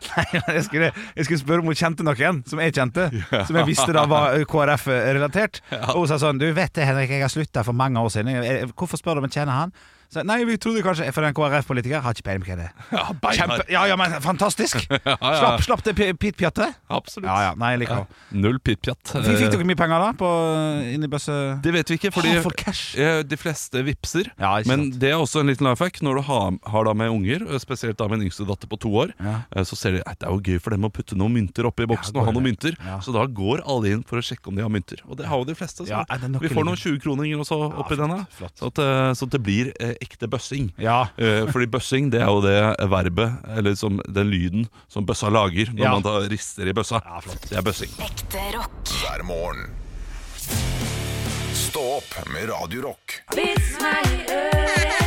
[SPEAKER 6] nei, jeg, skulle, jeg skulle spørre om hun kjente noen som jeg kjente, som jeg visste da var KrF-relatert. Og hun sa sånn Du vet det, Henrik, jeg har slutta for mange år siden. Jeg- jeg- Hvorfor spør du om jeg kjenner han? Så, nei, vi trodde kanskje For en KrF-politiker har ikke peiling på hva det er.
[SPEAKER 7] Ja, beinhard.
[SPEAKER 6] Kjempe, ja, ja, men fantastisk!
[SPEAKER 7] Ja, ja.
[SPEAKER 6] Slapp, slapp det pi- pitpjattet.
[SPEAKER 7] Absolutt.
[SPEAKER 6] Ja, ja, nei, jeg liker
[SPEAKER 7] Ja.
[SPEAKER 6] henne.
[SPEAKER 7] Null pitpjatt.
[SPEAKER 6] Fikk fikk
[SPEAKER 7] Eh,
[SPEAKER 6] dere mye penger da? På, inn i bøsse...
[SPEAKER 7] Det vet vi ikke, fordi
[SPEAKER 6] Ah, for cash.
[SPEAKER 7] eh, de fleste vipser.
[SPEAKER 6] ikke
[SPEAKER 7] men det er også en liten life hack når du har, har da med unger, eh, spesielt da min yngste datter på to år, eh, så ser de at det er jo gøy for dem å putte noen mynter oppi boksen
[SPEAKER 6] går
[SPEAKER 7] og ha noen
[SPEAKER 6] det.
[SPEAKER 7] mynter.
[SPEAKER 6] Ja.
[SPEAKER 7] Så da går alle inn for å sjekke om de har mynter. Og det har jo de fleste. Så
[SPEAKER 6] Ja, er det nok
[SPEAKER 7] vi
[SPEAKER 6] i
[SPEAKER 7] får
[SPEAKER 6] livet?
[SPEAKER 7] noen 20-kroninger også oppi denne. Så at, eh, så at det blir eh, ekte bøssing. Eh, fordi bøssing det er jo det verbet, eller som den lyden, som bøssa lager når
[SPEAKER 13] Ja.
[SPEAKER 7] man da rister i bøssa. Det er bøssing.
[SPEAKER 13] Ekte rock. Hver morgen. Stå opp med Radio Rock.
[SPEAKER 14] Vits meg i øret.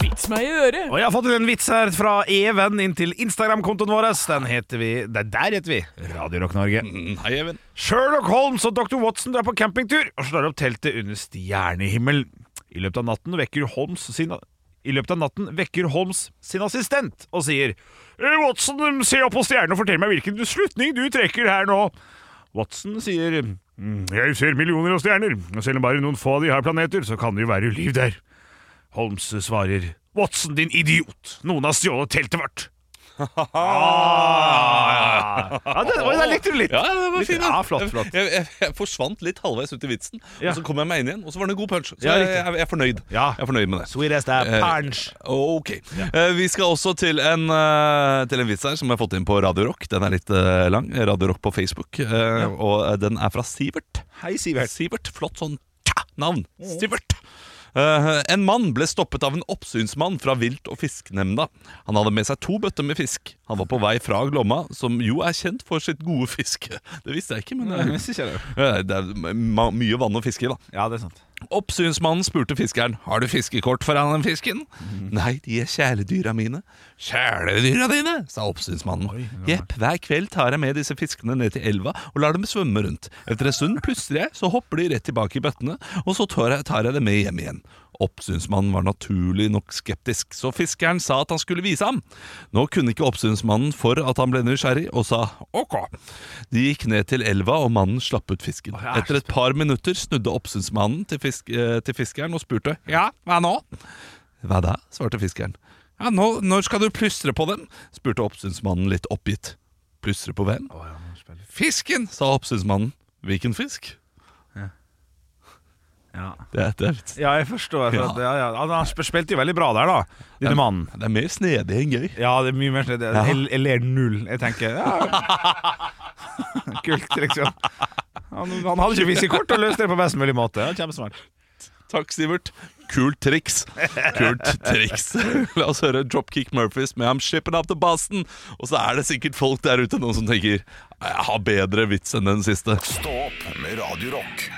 [SPEAKER 14] Vits meg i øret.
[SPEAKER 6] Og jeg har fått en vits her fra Even inn til Instagram-kontoen vår. Den heter vi Der, der heter vi Radio Rock Norge.
[SPEAKER 7] Hei, Even.
[SPEAKER 6] Sherlock Holmes og dr. Watson drar på campingtur og slår opp teltet under stjernehimmelen. I løpet av natten vekker Holmes sin i løpet av natten vekker Holmes sin assistent og sier «Eh, Watson, se opp på stjernen og fortell meg hvilken slutning du trekker her nå. Watson sier «Mm, Jeg ser millioner av stjerner, og selv om bare noen få av de har planeter, så kan det jo være liv der. Holmes svarer Watson, din idiot! Noen har stjålet teltet vårt! ah, ja, det, oi, der lekte du litt.
[SPEAKER 7] Ja, det var fin,
[SPEAKER 6] ja, flott, flott.
[SPEAKER 7] Jeg, jeg, jeg forsvant litt halvveis ut i vitsen,
[SPEAKER 6] Ja.
[SPEAKER 7] og så kom jeg meg inn igjen. Og så var det en god punch. Så
[SPEAKER 6] Ja,
[SPEAKER 7] jeg,
[SPEAKER 6] riktig.
[SPEAKER 7] jeg, jeg, er fornøyd. jeg er fornøyd med det.
[SPEAKER 6] Sweet as that punch.
[SPEAKER 7] Eh, ok. Eh, vi skal også til en, eh, til en vits her som jeg har fått inn på Radio Rock. Den er litt eh, lang. Radio Rock på Facebook. eh, Og eh, den er fra Sivert.
[SPEAKER 6] Hei, Sivert.
[SPEAKER 7] Sivert, Flott sånn tja, navn. Sivert. Eh, en mann ble stoppet av en oppsynsmann fra Vilt- og fiskenemnda. Han hadde med seg to bøtter med fisk. Han var på vei fra Glomma, som jo er kjent for sitt gode fiske. Det visste jeg ikke, men
[SPEAKER 6] Nei, det visste ikke jeg.
[SPEAKER 7] Eh, Det er ma- mye vann å fiske i, da.
[SPEAKER 6] Ja, det er sant
[SPEAKER 7] Oppsynsmannen spurte fiskeren Har du fiskekort for all den fisken. Nei, de er kjæledyra mine. Kjæledyra dine, sa oppsynsmannen. Jepp, hver kveld tar jeg med disse fiskene ned til elva og lar dem svømme rundt. Etter en stund plystrer jeg, så hopper de rett tilbake i bøttene, og så tar jeg, tar jeg det med hjem igjen. Oppsynsmannen var naturlig nok skeptisk, så fiskeren sa at han skulle vise ham. Nå kunne ikke oppsynsmannen for at han ble nysgjerrig, og sa ok. De gikk ned til elva, og mannen slapp ut fisken. Etter et par minutter snudde oppsynsmannen til, fisk, eh, til fiskeren og spurte ja, hva nå? Hva da? svarte fiskeren. Ja, nå, når skal du plystre på dem? spurte oppsynsmannen litt oppgitt. Plystre på hvem? Fisken, sa oppsynsmannen. Hvilken fisk?
[SPEAKER 6] Ja.
[SPEAKER 7] Det er, det er litt
[SPEAKER 6] Ja, jeg forstår.
[SPEAKER 7] Ja.
[SPEAKER 6] Ja. Ja, ja. Han- Han sp- spilte jo veldig bra der, da. Denne mannen.
[SPEAKER 7] Det er mer snedig enn gøy.
[SPEAKER 6] Ja, det er mye mer snedig.
[SPEAKER 7] Ja.
[SPEAKER 6] Jeg, jeg ler null. Jeg tenker ja. Kult, liksom. Han, han hadde ikke fiskekort og løste det på best mulig måte. Det er Kjempesmart.
[SPEAKER 7] Takk, Sivert. Kult triks. Kult triks. La oss høre Dropkick Murphys med I'm shipping up to Boston. Og så er det sikkert folk der ute nå som tenker jeg har bedre vits enn den siste.
[SPEAKER 13] Stå opp med Radio Rock.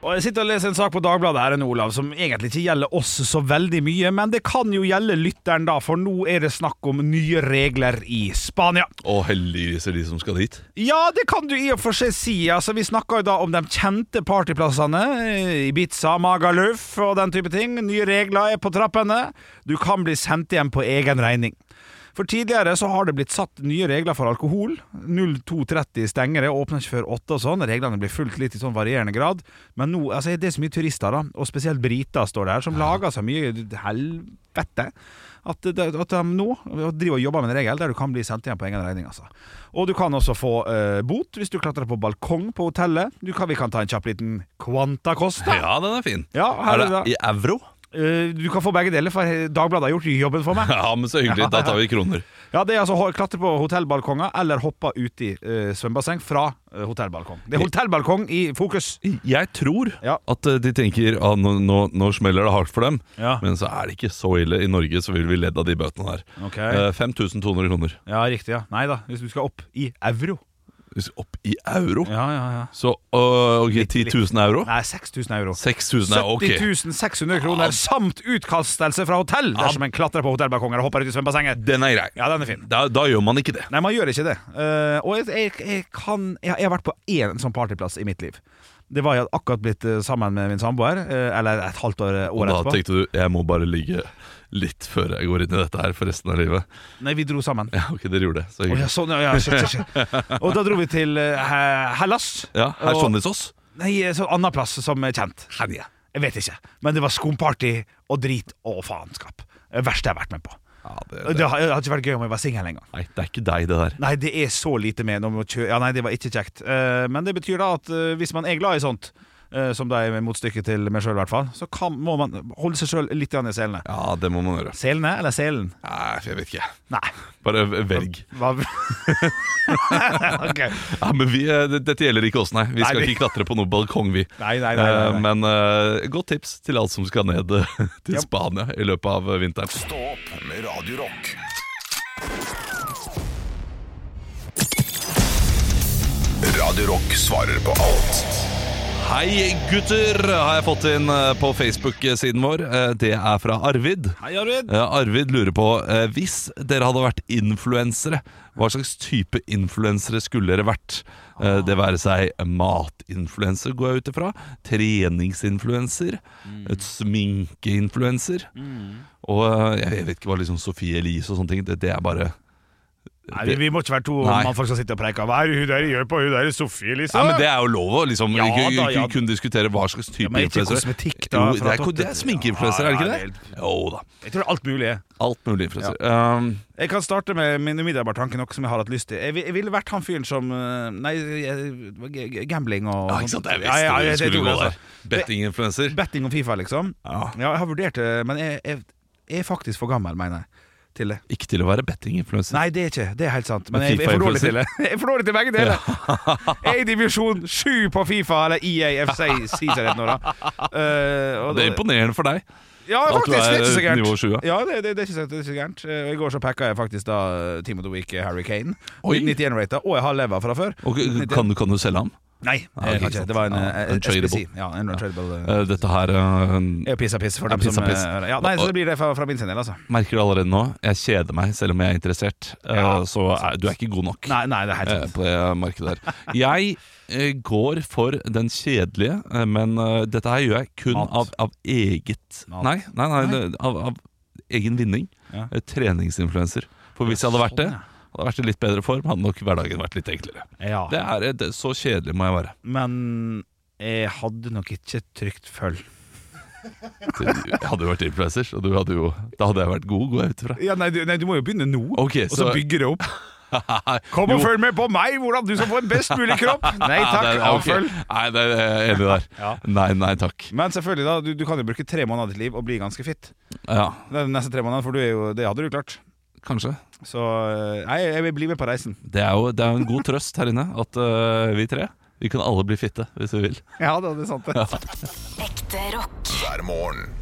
[SPEAKER 6] Og Jeg sitter og leser en sak på Dagbladet her, en Olav, som egentlig ikke gjelder oss så veldig mye, men det kan jo gjelde lytteren, da, for nå er det snakk om nye regler i Spania.
[SPEAKER 7] Og heldigvis er de som skal dit.
[SPEAKER 6] Ja, det kan du i og for seg si. Altså, vi snakker jo da om de kjente partyplassene. eh, Ibiza, Magaluf og den type ting. Nye regler er på trappene. Du kan bli sendt hjem på egen regning. For Tidligere så har det blitt satt nye regler for alkohol. 02.30 stenger det, åpner ikke før 8 og sånn. Reglene blir fulgt litt i sånn varierende grad. Men nå altså, det er så mye turister, da, og spesielt briter står der, som lager så mye helvete. At, det- at de nå driver og jobber med en regel der du kan bli sendt hjem på egen regning. Altså. Og du kan også få eh, bot hvis du klatrer på balkong på hotellet. Du kan, vi kan ta en kjapp liten Quanta Costa.
[SPEAKER 7] Ja, den er fin.
[SPEAKER 6] Ja, her er
[SPEAKER 7] er
[SPEAKER 6] det da.
[SPEAKER 7] det i euro?
[SPEAKER 6] Eh, Du kan få begge deler, for Dagbladet har gjort jobben for meg.
[SPEAKER 7] Ja, men så hyggelig. Da tar vi kroner.
[SPEAKER 6] Ja, Det er altså ho- klatre på hotellbalkonger eller hoppe uti uh, svømmebasseng fra eh, hotellbalkong. Det er hotellbalkong i fokus.
[SPEAKER 7] Jeg tror at eh, de tenker at nå, nå, nå smeller det hardt for dem,
[SPEAKER 6] Ja.
[SPEAKER 7] men så er det ikke så ille. I Norge så vil vi ledd av de bøtene der.
[SPEAKER 6] Ok.
[SPEAKER 7] Eh, 5200 kroner.
[SPEAKER 6] Ja, riktig. ja Nei da, hvis du skal opp i euro.
[SPEAKER 7] Hvis opp i euro?
[SPEAKER 6] Ja, ja, ja
[SPEAKER 7] Så øh, ok, 10 000 euro?
[SPEAKER 6] Nei, 6000 euro.
[SPEAKER 7] 6000 er ok.
[SPEAKER 6] 70 600 kroner samt utkastelse fra hotell dersom en klatrer på hotellbalkonger og hopper ut i svømmebassenget.
[SPEAKER 7] Den er grei.
[SPEAKER 6] Ja, den er fin.
[SPEAKER 7] Da, da gjør man ikke det.
[SPEAKER 6] Nei, man gjør ikke det. Eh, og jeg, jeg, jeg, kan, jeg, jeg har vært på én sånn partyplass i mitt liv. Det var jeg hadde akkurat blitt eh, sammen med min samboer, eh, eller et halvt år,
[SPEAKER 7] Og
[SPEAKER 6] år
[SPEAKER 7] da
[SPEAKER 6] etterpå.
[SPEAKER 7] tenkte du jeg må bare ligge litt før jeg går inn i dette her for resten av livet.
[SPEAKER 6] Nei, vi dro sammen.
[SPEAKER 7] Ja, ok, dere gjorde det. Så
[SPEAKER 6] Å, ja,
[SPEAKER 7] hyggelig.
[SPEAKER 6] sånn, ja, ja, shit, shit, shit. Og da dro vi til eh, He- Hellas.
[SPEAKER 7] Ja, herr
[SPEAKER 6] Og-
[SPEAKER 7] Kjendisås?
[SPEAKER 6] Nei, så annen plass som er kjent. Jeg vet ikke. Men det var skumparty og drit og faenskap. Det verste jeg har vært med på.
[SPEAKER 7] det,
[SPEAKER 6] det, har- det hadde ikke vært gøy om jeg var singel engang.
[SPEAKER 7] Nei, det er ikke deg, det der.
[SPEAKER 6] Nei, det er så lite med når man kjø- Ja, nei, det var ikke kjekt. Eh, men det betyr da at eh, hvis man er glad i sånt, eh, som det er motstykket til meg sjøl, i hvert fall, så kan, må man holde seg sjøl litt grann i selene.
[SPEAKER 7] Ja, det må man gjøre.
[SPEAKER 6] Selene eller selen?
[SPEAKER 7] Nei, jeg vet ikke.
[SPEAKER 6] Nei.
[SPEAKER 7] Bare velg.
[SPEAKER 6] Hva Ok.
[SPEAKER 7] Ja, men vi, eh, det- dette gjelder ikke oss, nei. Vi
[SPEAKER 6] Nei,
[SPEAKER 7] skal
[SPEAKER 6] vi-
[SPEAKER 7] ikke klatre på noen balkong, vi.
[SPEAKER 6] Nei, nei, nei, nei, nei.
[SPEAKER 7] Eh, Men eh, godt tips til alt som skal ned eh, til
[SPEAKER 15] Ja.
[SPEAKER 7] Spania i løpet av eh, vinteren.
[SPEAKER 15] Stå opp med Radio Rock. Radio Rock svarer på alt.
[SPEAKER 7] Hei, gutter, har jeg fått inn eh, på Facebook-siden vår. Eh, Det er fra Arvid.
[SPEAKER 6] Hei, Arvid.
[SPEAKER 7] Eh, Arvid lurer på eh, hvis dere hadde vært influensere, hva slags type influensere skulle dere vært?
[SPEAKER 6] Ah.
[SPEAKER 7] Eh, Det være seg matinfluenser, går jeg ut ifra, treningsinfluenser,
[SPEAKER 6] Mm.
[SPEAKER 7] et sminkeinfluenser Og eh, jeg jeg vet ikke hva liksom Sofie Elise og sånne ting, det, det er bare
[SPEAKER 6] Nei, vi,
[SPEAKER 7] det-
[SPEAKER 6] vi må ikke være to
[SPEAKER 7] Nei.
[SPEAKER 6] mannfolk som sitter og preiker. Hva er det hun der gjør på hun der Sofie, liksom?
[SPEAKER 7] Nei, men Det er jo lov å liksom,
[SPEAKER 6] Ja
[SPEAKER 7] ikke,
[SPEAKER 6] da,
[SPEAKER 7] ikke
[SPEAKER 6] ja.
[SPEAKER 7] kunne diskutere hva slags type
[SPEAKER 6] Ja, men ikke
[SPEAKER 7] influensere.
[SPEAKER 6] kosmetikk, da,
[SPEAKER 7] Jo,
[SPEAKER 6] fra
[SPEAKER 7] det er,
[SPEAKER 6] topp
[SPEAKER 7] det er
[SPEAKER 6] til-
[SPEAKER 7] sminkeinfluenser, er det
[SPEAKER 6] Ja,
[SPEAKER 7] ikke
[SPEAKER 6] ja,
[SPEAKER 7] det? Jo da.
[SPEAKER 6] Jeg tror det er alt mulig. jeg.
[SPEAKER 7] Alt mulig influenser. Um,
[SPEAKER 6] Jeg kan starte med min umiddelbare tanke, noe som jeg har hatt lyst til. Jeg, vil- jeg ville vært han fyren som eh, Nei, jeg, g- g- gambling og
[SPEAKER 7] ja, ikke sant?
[SPEAKER 6] Ja,
[SPEAKER 7] Jeg visste
[SPEAKER 6] ja,
[SPEAKER 7] det
[SPEAKER 6] jeg- jeg
[SPEAKER 7] skulle
[SPEAKER 6] tror
[SPEAKER 7] gå
[SPEAKER 6] det, altså.
[SPEAKER 7] der. Bettinginfluenser.
[SPEAKER 6] Betting og Fifa, liksom. Ja. jeg har vurdert det, men jeg, jeg, jeg er faktisk for gammel, mener jeg. Til det.
[SPEAKER 7] Ikke til å være bettinginfluenser.
[SPEAKER 6] Nei, det er ikke Det er helt sant. Men
[SPEAKER 7] Men
[SPEAKER 6] jeg, jeg er for dårlig
[SPEAKER 7] FIFA-influencer?
[SPEAKER 6] til det. Jeg er for dårlig til begge deler. Jeg er i divisjon sju på Fifa, eller E EAFC, sier seg rett nå, da. Eh, og-
[SPEAKER 7] Det er imponerende for deg.
[SPEAKER 6] Ja,
[SPEAKER 7] At
[SPEAKER 6] faktisk.
[SPEAKER 7] du
[SPEAKER 6] Det
[SPEAKER 7] er
[SPEAKER 6] er ikke så gærent.
[SPEAKER 7] nivå sju, ja.
[SPEAKER 6] Ja, det, det, det, er ikke så, det er ikke så gærent. Eh, Og I går så packa jeg faktisk da eh, Team of the Week eh, Harry Kane.
[SPEAKER 7] Oi.
[SPEAKER 6] 91 rater. Og jeg har lever fra før.
[SPEAKER 7] Og, eh,
[SPEAKER 6] 91.
[SPEAKER 7] kan, du- kan du selge ham?
[SPEAKER 6] Nei,
[SPEAKER 7] Ja,
[SPEAKER 6] jeg
[SPEAKER 7] ikke
[SPEAKER 6] har ikke.
[SPEAKER 7] sant.
[SPEAKER 6] det var en,
[SPEAKER 7] Ja,
[SPEAKER 6] eh,
[SPEAKER 7] untradable.
[SPEAKER 6] SPC. Ja, en untradable. eh.
[SPEAKER 7] Eh, Dette her
[SPEAKER 6] Jeg
[SPEAKER 7] eh,
[SPEAKER 6] er piss og piss for
[SPEAKER 7] Ja,
[SPEAKER 6] dem
[SPEAKER 7] piss
[SPEAKER 6] som
[SPEAKER 7] og piss.
[SPEAKER 6] eh, Ja, nei, så det blir det fra, fra min sin del, altså.
[SPEAKER 7] Merker du allerede nå? Jeg kjeder meg, selv om jeg er interessert. Eh, Så er, du er ikke god nok.
[SPEAKER 6] Nei, nei, det er helt
[SPEAKER 7] eh,
[SPEAKER 6] sant.
[SPEAKER 7] på det markedet der. Jeg eh, går for den kjedelige, eh, men eh, dette her gjør jeg kun
[SPEAKER 6] Mat.
[SPEAKER 7] av, av eget
[SPEAKER 6] Mat.
[SPEAKER 7] Nei, nei, nei,
[SPEAKER 6] Nei.
[SPEAKER 7] det- Av, av egen vinning.
[SPEAKER 6] Ja. sånn,
[SPEAKER 7] Eh, Treningsinfluenser. For hvis jeg hadde vært det, hadde jeg vært i litt bedre form, hadde nok hverdagen vært litt enklere.
[SPEAKER 6] Ja.
[SPEAKER 7] Det er, eh, det, så kjedelig må jeg være.
[SPEAKER 6] Men jeg hadde nok ikke trygt følg.
[SPEAKER 7] Det- Jeg hadde jo vært influenser, og du hadde jo, da hadde jeg vært god, går jeg ut ifra.
[SPEAKER 6] Ja, nei, du, nei, du må jo begynne nå,
[SPEAKER 7] Ok,
[SPEAKER 6] og så
[SPEAKER 7] så-
[SPEAKER 6] bygge det opp. Kom og
[SPEAKER 7] Jo.
[SPEAKER 6] følg med på meg, hvordan du skal få en best mulig kropp! Nei takk,
[SPEAKER 7] Det er- ok.
[SPEAKER 6] avfølg.
[SPEAKER 7] Nei, det er jeg enig der. Nei, nei takk.
[SPEAKER 6] Men selvfølgelig, da. Du, du kan jo bruke tre måneder av ditt liv og bli ganske fit.
[SPEAKER 7] Ja,
[SPEAKER 6] Det er de neste tre månedene, for du er jo, det hadde du klart.
[SPEAKER 7] kanskje.
[SPEAKER 6] Så eh, nei, jeg vil bli med på reisen.
[SPEAKER 7] Det er jo det er jo en god trøst her inne at eh, vi tre vi kan alle bli fitte hvis vi vil.
[SPEAKER 6] Ja, det er sant.
[SPEAKER 7] Ja.
[SPEAKER 16] Ekte rock.
[SPEAKER 15] Hver morgen.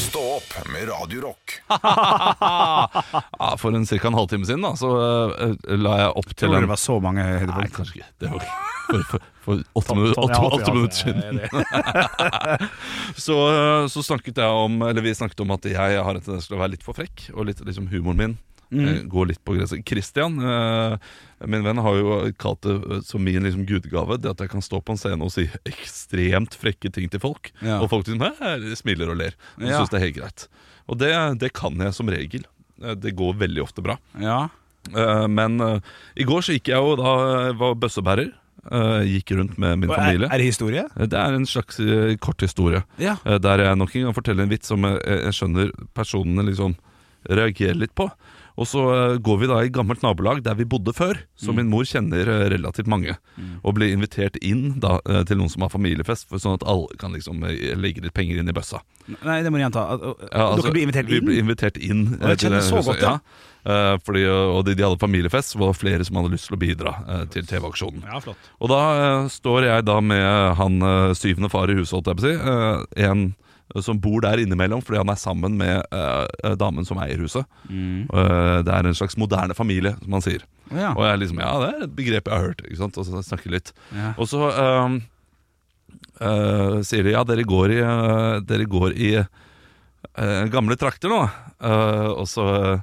[SPEAKER 15] Stå opp med Radio Rock.
[SPEAKER 7] Ja, for en, cirka en halvtime siden da, så eh, la jeg opp til
[SPEAKER 6] Tror du
[SPEAKER 7] en
[SPEAKER 6] det var så mange høydepunkt?
[SPEAKER 7] Nei, kanskje ikke. Det var for, for, for åtte,
[SPEAKER 6] Sånn-
[SPEAKER 7] minu-
[SPEAKER 6] sånn,
[SPEAKER 7] åtte,
[SPEAKER 6] ja,
[SPEAKER 7] åtte
[SPEAKER 6] ja,
[SPEAKER 7] minutter
[SPEAKER 6] ja, ja,
[SPEAKER 7] siden.
[SPEAKER 6] ja,
[SPEAKER 7] så, eh, så snakket jeg om Eller vi snakket om at jeg har en tendens til å være litt for frekk, og litt, liksom humoren min
[SPEAKER 6] Mm.
[SPEAKER 7] eh, går litt på grensen. Christian, eh, min venn, har jo kalt det eh, som min liksom, gudegave det at jeg kan stå på en scene og si ekstremt frekke ting til folk,
[SPEAKER 6] Ja.
[SPEAKER 7] og folk liksom, «Hæ?» smiler og ler. Og
[SPEAKER 6] Ja.
[SPEAKER 7] synes det er helt greit. Og det, det kan jeg som regel. Eh, Det går veldig ofte bra.
[SPEAKER 6] Ja.
[SPEAKER 7] Eh, Men eh, i går så gikk jeg jo da var bøssebærer. eh, gikk rundt med min
[SPEAKER 6] Og er-
[SPEAKER 7] familie.
[SPEAKER 6] er det historie?
[SPEAKER 7] Eh, Det er en slags eh, kort historie.
[SPEAKER 6] Ja.
[SPEAKER 7] Eh, der jeg nok en gang forteller en vits som jeg, jeg skjønner personene liksom reagerer litt på. Og så eh, går vi da i gammelt nabolag der vi bodde før, så
[SPEAKER 6] Mm.
[SPEAKER 7] min mor kjenner eh, relativt mange. Og blir invitert inn da, eh, til noen som har familiefest, for sånn at alle kan liksom eh, legge litt penger inn i bøssa.
[SPEAKER 6] Nei, det må du gjenta. At-
[SPEAKER 7] Ja, altså,
[SPEAKER 6] Dere blir invitert
[SPEAKER 7] Vi
[SPEAKER 6] inn?
[SPEAKER 7] ble invitert inn.
[SPEAKER 6] Og jeg
[SPEAKER 7] eh, til
[SPEAKER 6] kjenner
[SPEAKER 7] det
[SPEAKER 6] så godt,
[SPEAKER 7] huset,
[SPEAKER 6] ja.
[SPEAKER 7] Eh, fordi, eh, og de, de hadde familiefest, så var det flere som hadde lyst til å bidra eh, til TV-aksjonen.
[SPEAKER 6] Ja, flott.
[SPEAKER 7] Og da eh, står jeg da med han eh, syvende far i huset, holdt jeg på å si. eh, en som bor der innimellom fordi han er sammen med eh, eh, damen som eier huset.
[SPEAKER 6] Mm.
[SPEAKER 7] Eh, det er en slags moderne familie, som han sier.
[SPEAKER 6] Ja.
[SPEAKER 7] Og jeg er liksom, ja, det er et begrep jeg har hørt, ikke sant? Og så snakker jeg litt.
[SPEAKER 6] Ja.
[SPEAKER 7] Og så ehm, eh, sier de, ja, dere går i, eh, dere går i eh, gamle trakter nå. Eh, og så, eh,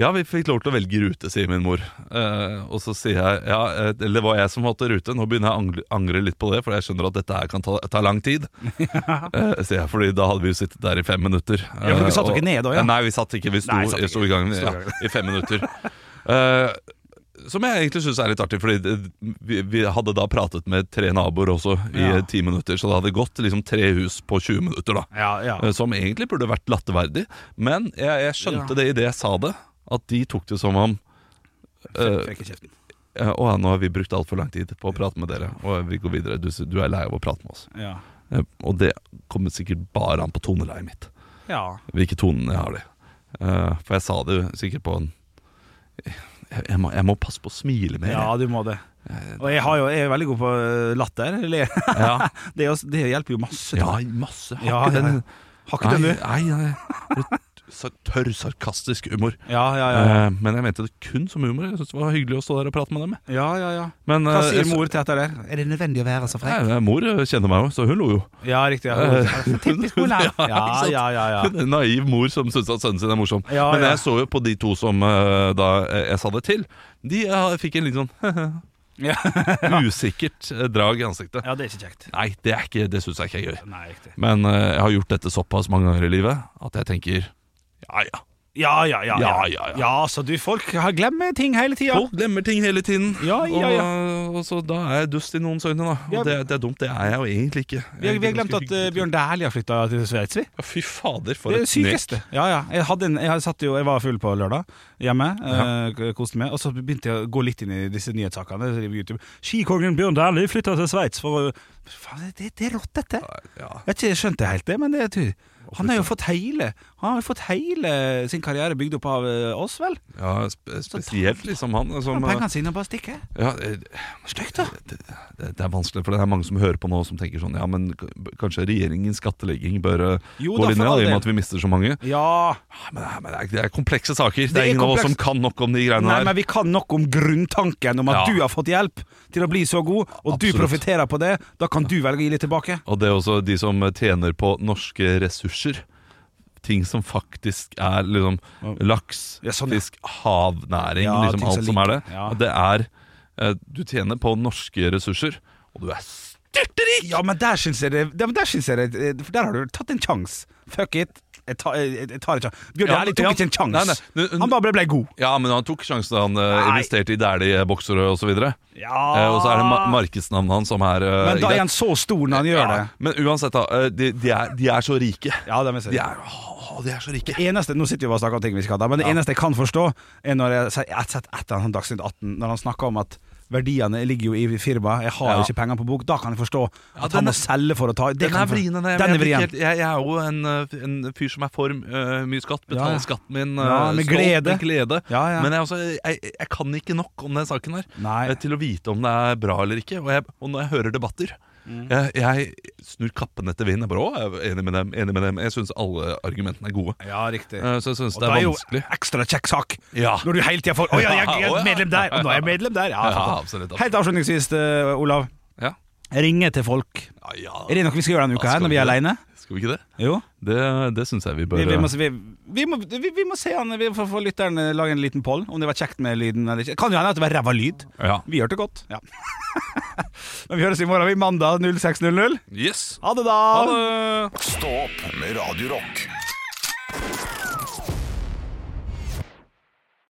[SPEAKER 7] ja, vi fikk lov til å velge rute, sier min mor. Eh, og så sier jeg, ja, eh, eller det var jeg som valgte rute, nå begynner jeg å angre, angre litt på det, for jeg skjønner at dette her kan ta, ta lang tid. Eh, sier jeg, fordi da hadde vi jo sittet der i fem minutter.
[SPEAKER 6] Ja, for dere satt
[SPEAKER 7] Eh,
[SPEAKER 6] dere
[SPEAKER 7] og-
[SPEAKER 6] ned da, ja?
[SPEAKER 7] Nei, vi satt ikke, vi sto,
[SPEAKER 6] Nei, vi satt
[SPEAKER 7] jeg
[SPEAKER 6] ikke.
[SPEAKER 7] sto i gangen
[SPEAKER 6] Sto i
[SPEAKER 7] ja,
[SPEAKER 6] gangen.
[SPEAKER 7] i fem minutter. Eh, som jeg egentlig syns er litt artig, fordi det, vi, vi hadde da pratet med tre naboer også i
[SPEAKER 6] Ja.
[SPEAKER 7] ti minutter, så det hadde gått liksom tre hus på 20 minutter, da.
[SPEAKER 6] Ja, ja.
[SPEAKER 7] Eh, Som egentlig burde vært latterverdig, men jeg, jeg skjønte
[SPEAKER 6] Ja.
[SPEAKER 7] det idet jeg sa det, at de tok det som om eh,
[SPEAKER 6] Fikk ikke kjeften.
[SPEAKER 7] ja, Å ja, nå har vi brukt altfor lang tid på å prate med dere, og vi går videre. Du, s- du er lei av å prate med oss.
[SPEAKER 6] Ja.
[SPEAKER 7] Eh, Og det kommer sikkert bare an på toneleiet mitt.
[SPEAKER 6] Ja.
[SPEAKER 7] Hvilke toner jeg har det. Eh, for jeg sa det jo sikkert på en jeg, jeg, må, jeg må passe på å smile mer.
[SPEAKER 6] Ja, du må det. Og jeg, har jo, jeg er veldig god på øh, latter. eller-
[SPEAKER 7] Ja.
[SPEAKER 6] Det, er også, det hjelper jo masse.
[SPEAKER 7] Ja, masse. Har
[SPEAKER 6] Ja,
[SPEAKER 7] ikke
[SPEAKER 6] ja.
[SPEAKER 7] den
[SPEAKER 6] Har ikke den, du?
[SPEAKER 7] Nei, nei, nei. Det er så Tørr, sarkastisk humor.
[SPEAKER 6] Ja, ja, ja.
[SPEAKER 7] Eh, men jeg mente det kun som humor. Jeg synes det var hyggelig å stå der og prate med dem. jeg.
[SPEAKER 6] Ja, ja, ja.
[SPEAKER 7] Men,
[SPEAKER 6] Hva
[SPEAKER 7] eh,
[SPEAKER 6] sier
[SPEAKER 7] jeg-
[SPEAKER 6] mor til dette der? Er det nødvendig å være så frekk?
[SPEAKER 7] Nei, mor eh, kjenner meg jo, så hun lo jo.
[SPEAKER 6] Ja, riktig. Ja.
[SPEAKER 7] Eh,
[SPEAKER 6] Typisk Olav.
[SPEAKER 7] ja,
[SPEAKER 6] Ja,
[SPEAKER 7] ikke sant?
[SPEAKER 6] ja, ja, ja.
[SPEAKER 7] En naiv mor som syns at sønnen sin er morsom.
[SPEAKER 6] Ja,
[SPEAKER 7] Men
[SPEAKER 6] ja.
[SPEAKER 7] jeg så jo på de to som eh, da eh, jeg sa det til, de eh, fikk en litt sånn usikkert eh, drag i ansiktet.
[SPEAKER 6] Ja, det er ikke kjekt.
[SPEAKER 7] Nei, det, er ikke- det syns jeg ikke er gøy.
[SPEAKER 6] Nei, riktig.
[SPEAKER 7] Men eh, jeg har gjort dette såpass mange ganger i livet at jeg tenker ja ja.
[SPEAKER 6] Ja, ja, ja.
[SPEAKER 7] Ja, ja, ja.
[SPEAKER 6] så du, folk har- glemmer ting hele tida.
[SPEAKER 7] Folk glemmer ting hele tiden.
[SPEAKER 6] Ja, ja, ja.
[SPEAKER 7] Og, og så da er jeg dust i noens øyne, da. Og
[SPEAKER 6] Ja.
[SPEAKER 7] det, det er dumt. Det er jeg jo egentlig ikke.
[SPEAKER 6] Vi, har- vi har glemt at eh, Bjørn Dæhlie har flytta til Sveits, vi.
[SPEAKER 7] Ja, fy fader, for
[SPEAKER 6] det er det
[SPEAKER 7] et
[SPEAKER 6] sykeste.
[SPEAKER 7] nek.
[SPEAKER 6] Ja, ja. Jeg, hadde en, jeg, hadde satt jo, jeg var full på lørdag hjemme, eh, koste meg, og så begynte jeg å gå litt inn i disse nyhetssakene. på YouTube. Skikongen Bjørn Dæhlie flytta til Sveits for å Faen, det, det er rått, dette. Jeg har ikke skjønt det helt, det, men det er tur. Han har jo fått hele Han har jo fått hele sin karriere bygd opp av eh, oss, vel?
[SPEAKER 7] Ja, spe spesielt liksom han
[SPEAKER 6] Han
[SPEAKER 7] som
[SPEAKER 6] har Pengene sine og bare stikker.
[SPEAKER 7] ja, eh,
[SPEAKER 6] Stygt, da.
[SPEAKER 7] Det, det, det er vanskelig, for det er mange som hører på nå som tenker sånn Ja, men k- kanskje regjeringens skattlegging bør eh,
[SPEAKER 6] Jo
[SPEAKER 7] gå
[SPEAKER 6] da,
[SPEAKER 7] litt
[SPEAKER 6] for
[SPEAKER 7] ned,
[SPEAKER 6] all
[SPEAKER 7] i og
[SPEAKER 6] del.
[SPEAKER 7] med at vi mister så mange.
[SPEAKER 6] Ja.
[SPEAKER 7] Men, det er- men det, er, det er komplekse saker. Det er,
[SPEAKER 6] er
[SPEAKER 7] ingen av oss
[SPEAKER 6] komplekst.
[SPEAKER 7] som kan nok om de greiene
[SPEAKER 6] Nei,
[SPEAKER 7] der.
[SPEAKER 6] men vi kan nok om grunntanken om at
[SPEAKER 7] Ja.
[SPEAKER 6] du har fått hjelp til å bli så god, og
[SPEAKER 7] Absolutt.
[SPEAKER 6] du profitterer på det. Da kan du velge å gi litt tilbake.
[SPEAKER 7] Og det er også de som tjener på norske ressurser. Ting som faktisk er liksom laks, fisk,
[SPEAKER 6] sånn,
[SPEAKER 7] havnæring,
[SPEAKER 6] Ja,
[SPEAKER 7] liksom
[SPEAKER 6] ting
[SPEAKER 7] alt
[SPEAKER 6] som
[SPEAKER 7] som er det.
[SPEAKER 6] ligger- ja.
[SPEAKER 7] Og Det er eh, Du tjener på norske ressurser, og du er s- Styrterik!
[SPEAKER 6] Ja, men der syns jeg det ja, men Der syns jeg det eh, For der har du tatt en sjanse. Fuck it. Jeg, tar- eh, jeg, jeg tar en sjanse. Bjørn
[SPEAKER 7] Ja,
[SPEAKER 6] Dæhlie tok
[SPEAKER 7] ja.
[SPEAKER 6] ikke en
[SPEAKER 7] Nei, nei.
[SPEAKER 6] sjanse.
[SPEAKER 7] Du-
[SPEAKER 6] Han bare ble, ble god.
[SPEAKER 7] Ja, men han tok sjansen da han eh,
[SPEAKER 6] Nei.
[SPEAKER 7] investerte i Dæhlie-boksere osv.
[SPEAKER 6] Ja.
[SPEAKER 7] Eh, og så er det ma markedsnavnet hans som er eh,
[SPEAKER 6] Men da
[SPEAKER 7] greit.
[SPEAKER 6] er han så stor når han gjør det.
[SPEAKER 7] Men uansett, da. eh, De, de, er, de er så rike.
[SPEAKER 6] Ja, det er
[SPEAKER 7] De er, å, de er så rike.
[SPEAKER 6] Det eneste, nå sitter vi bare og snakker om ting vi skal ha, men det eneste jeg kan forstå, er når jeg sier- jeg har sett etter han sånn Dagsnytt 18, når han snakker om at verdiene ligger jo i firmaet, jeg har
[SPEAKER 7] Ja.
[SPEAKER 6] jo ikke penger på bok, da kan jeg forstå at
[SPEAKER 7] den
[SPEAKER 6] han
[SPEAKER 7] er-
[SPEAKER 6] må selge for å ta det
[SPEAKER 7] Den
[SPEAKER 6] kan
[SPEAKER 7] er
[SPEAKER 6] jeg for-
[SPEAKER 7] vrien. Den er,
[SPEAKER 6] Den er
[SPEAKER 7] jeg,
[SPEAKER 6] vrien.
[SPEAKER 7] jeg, jeg, jeg er jo en, eh, en fyr som er for eh, mye skatt. Betaler
[SPEAKER 6] Ja, ja.
[SPEAKER 7] skatten min eh,
[SPEAKER 6] Ja, med
[SPEAKER 7] stolt,
[SPEAKER 6] glede.
[SPEAKER 7] Med glede.
[SPEAKER 6] Ja, ja.
[SPEAKER 7] Men jeg, er også, jeg, jeg kan ikke nok om den saken her
[SPEAKER 6] Nei.
[SPEAKER 7] eh, til å vite om det er bra eller ikke. Og, jeg, og når jeg hører debatter
[SPEAKER 6] Mm.
[SPEAKER 7] jeg, jeg snur kappen etter vinden. Jeg bare, å, jeg er enig med dem, enig med dem. Jeg syns alle argumentene er gode.
[SPEAKER 6] Ja, riktig.
[SPEAKER 7] Eh, Så jeg syns
[SPEAKER 6] Og
[SPEAKER 7] det
[SPEAKER 6] da
[SPEAKER 7] er
[SPEAKER 6] jo
[SPEAKER 7] vanskelig.
[SPEAKER 6] ekstra kjekk sak
[SPEAKER 7] Ja.
[SPEAKER 6] når du hele tida får 'Å ja, jeg, jeg
[SPEAKER 7] Å, ja.
[SPEAKER 6] er medlem der', og nå er jeg medlem der. Ja,
[SPEAKER 7] Ja,
[SPEAKER 6] fattig.
[SPEAKER 7] absolutt, absolutt.
[SPEAKER 6] Helt avslutningsvis, eh, Olav.
[SPEAKER 7] Ja.
[SPEAKER 6] Ringe til folk.
[SPEAKER 7] ja.
[SPEAKER 6] Er det noe vi skal gjøre denne
[SPEAKER 7] Ja,
[SPEAKER 6] uka her,
[SPEAKER 7] skal
[SPEAKER 6] når
[SPEAKER 7] vi
[SPEAKER 6] vi er
[SPEAKER 7] det?
[SPEAKER 6] aleine?
[SPEAKER 7] Skal vi ikke det?
[SPEAKER 6] Jo.
[SPEAKER 7] Det, det syns jeg vi bør eh,
[SPEAKER 6] Vi, vi, må, vi, vi, må, vi, vi må se han Vi får få lytteren eh, lage en liten poll om det var kjekt med lyden eller ikke. Kan jo hende at det var ræva lyd.
[SPEAKER 7] Ja.
[SPEAKER 6] Vi gjør det godt. Ja. Men vi høres i morgen, vi. Mandag 06.00.
[SPEAKER 7] Yes.
[SPEAKER 6] Ha det, da!
[SPEAKER 5] Stå opp med Radio Rock.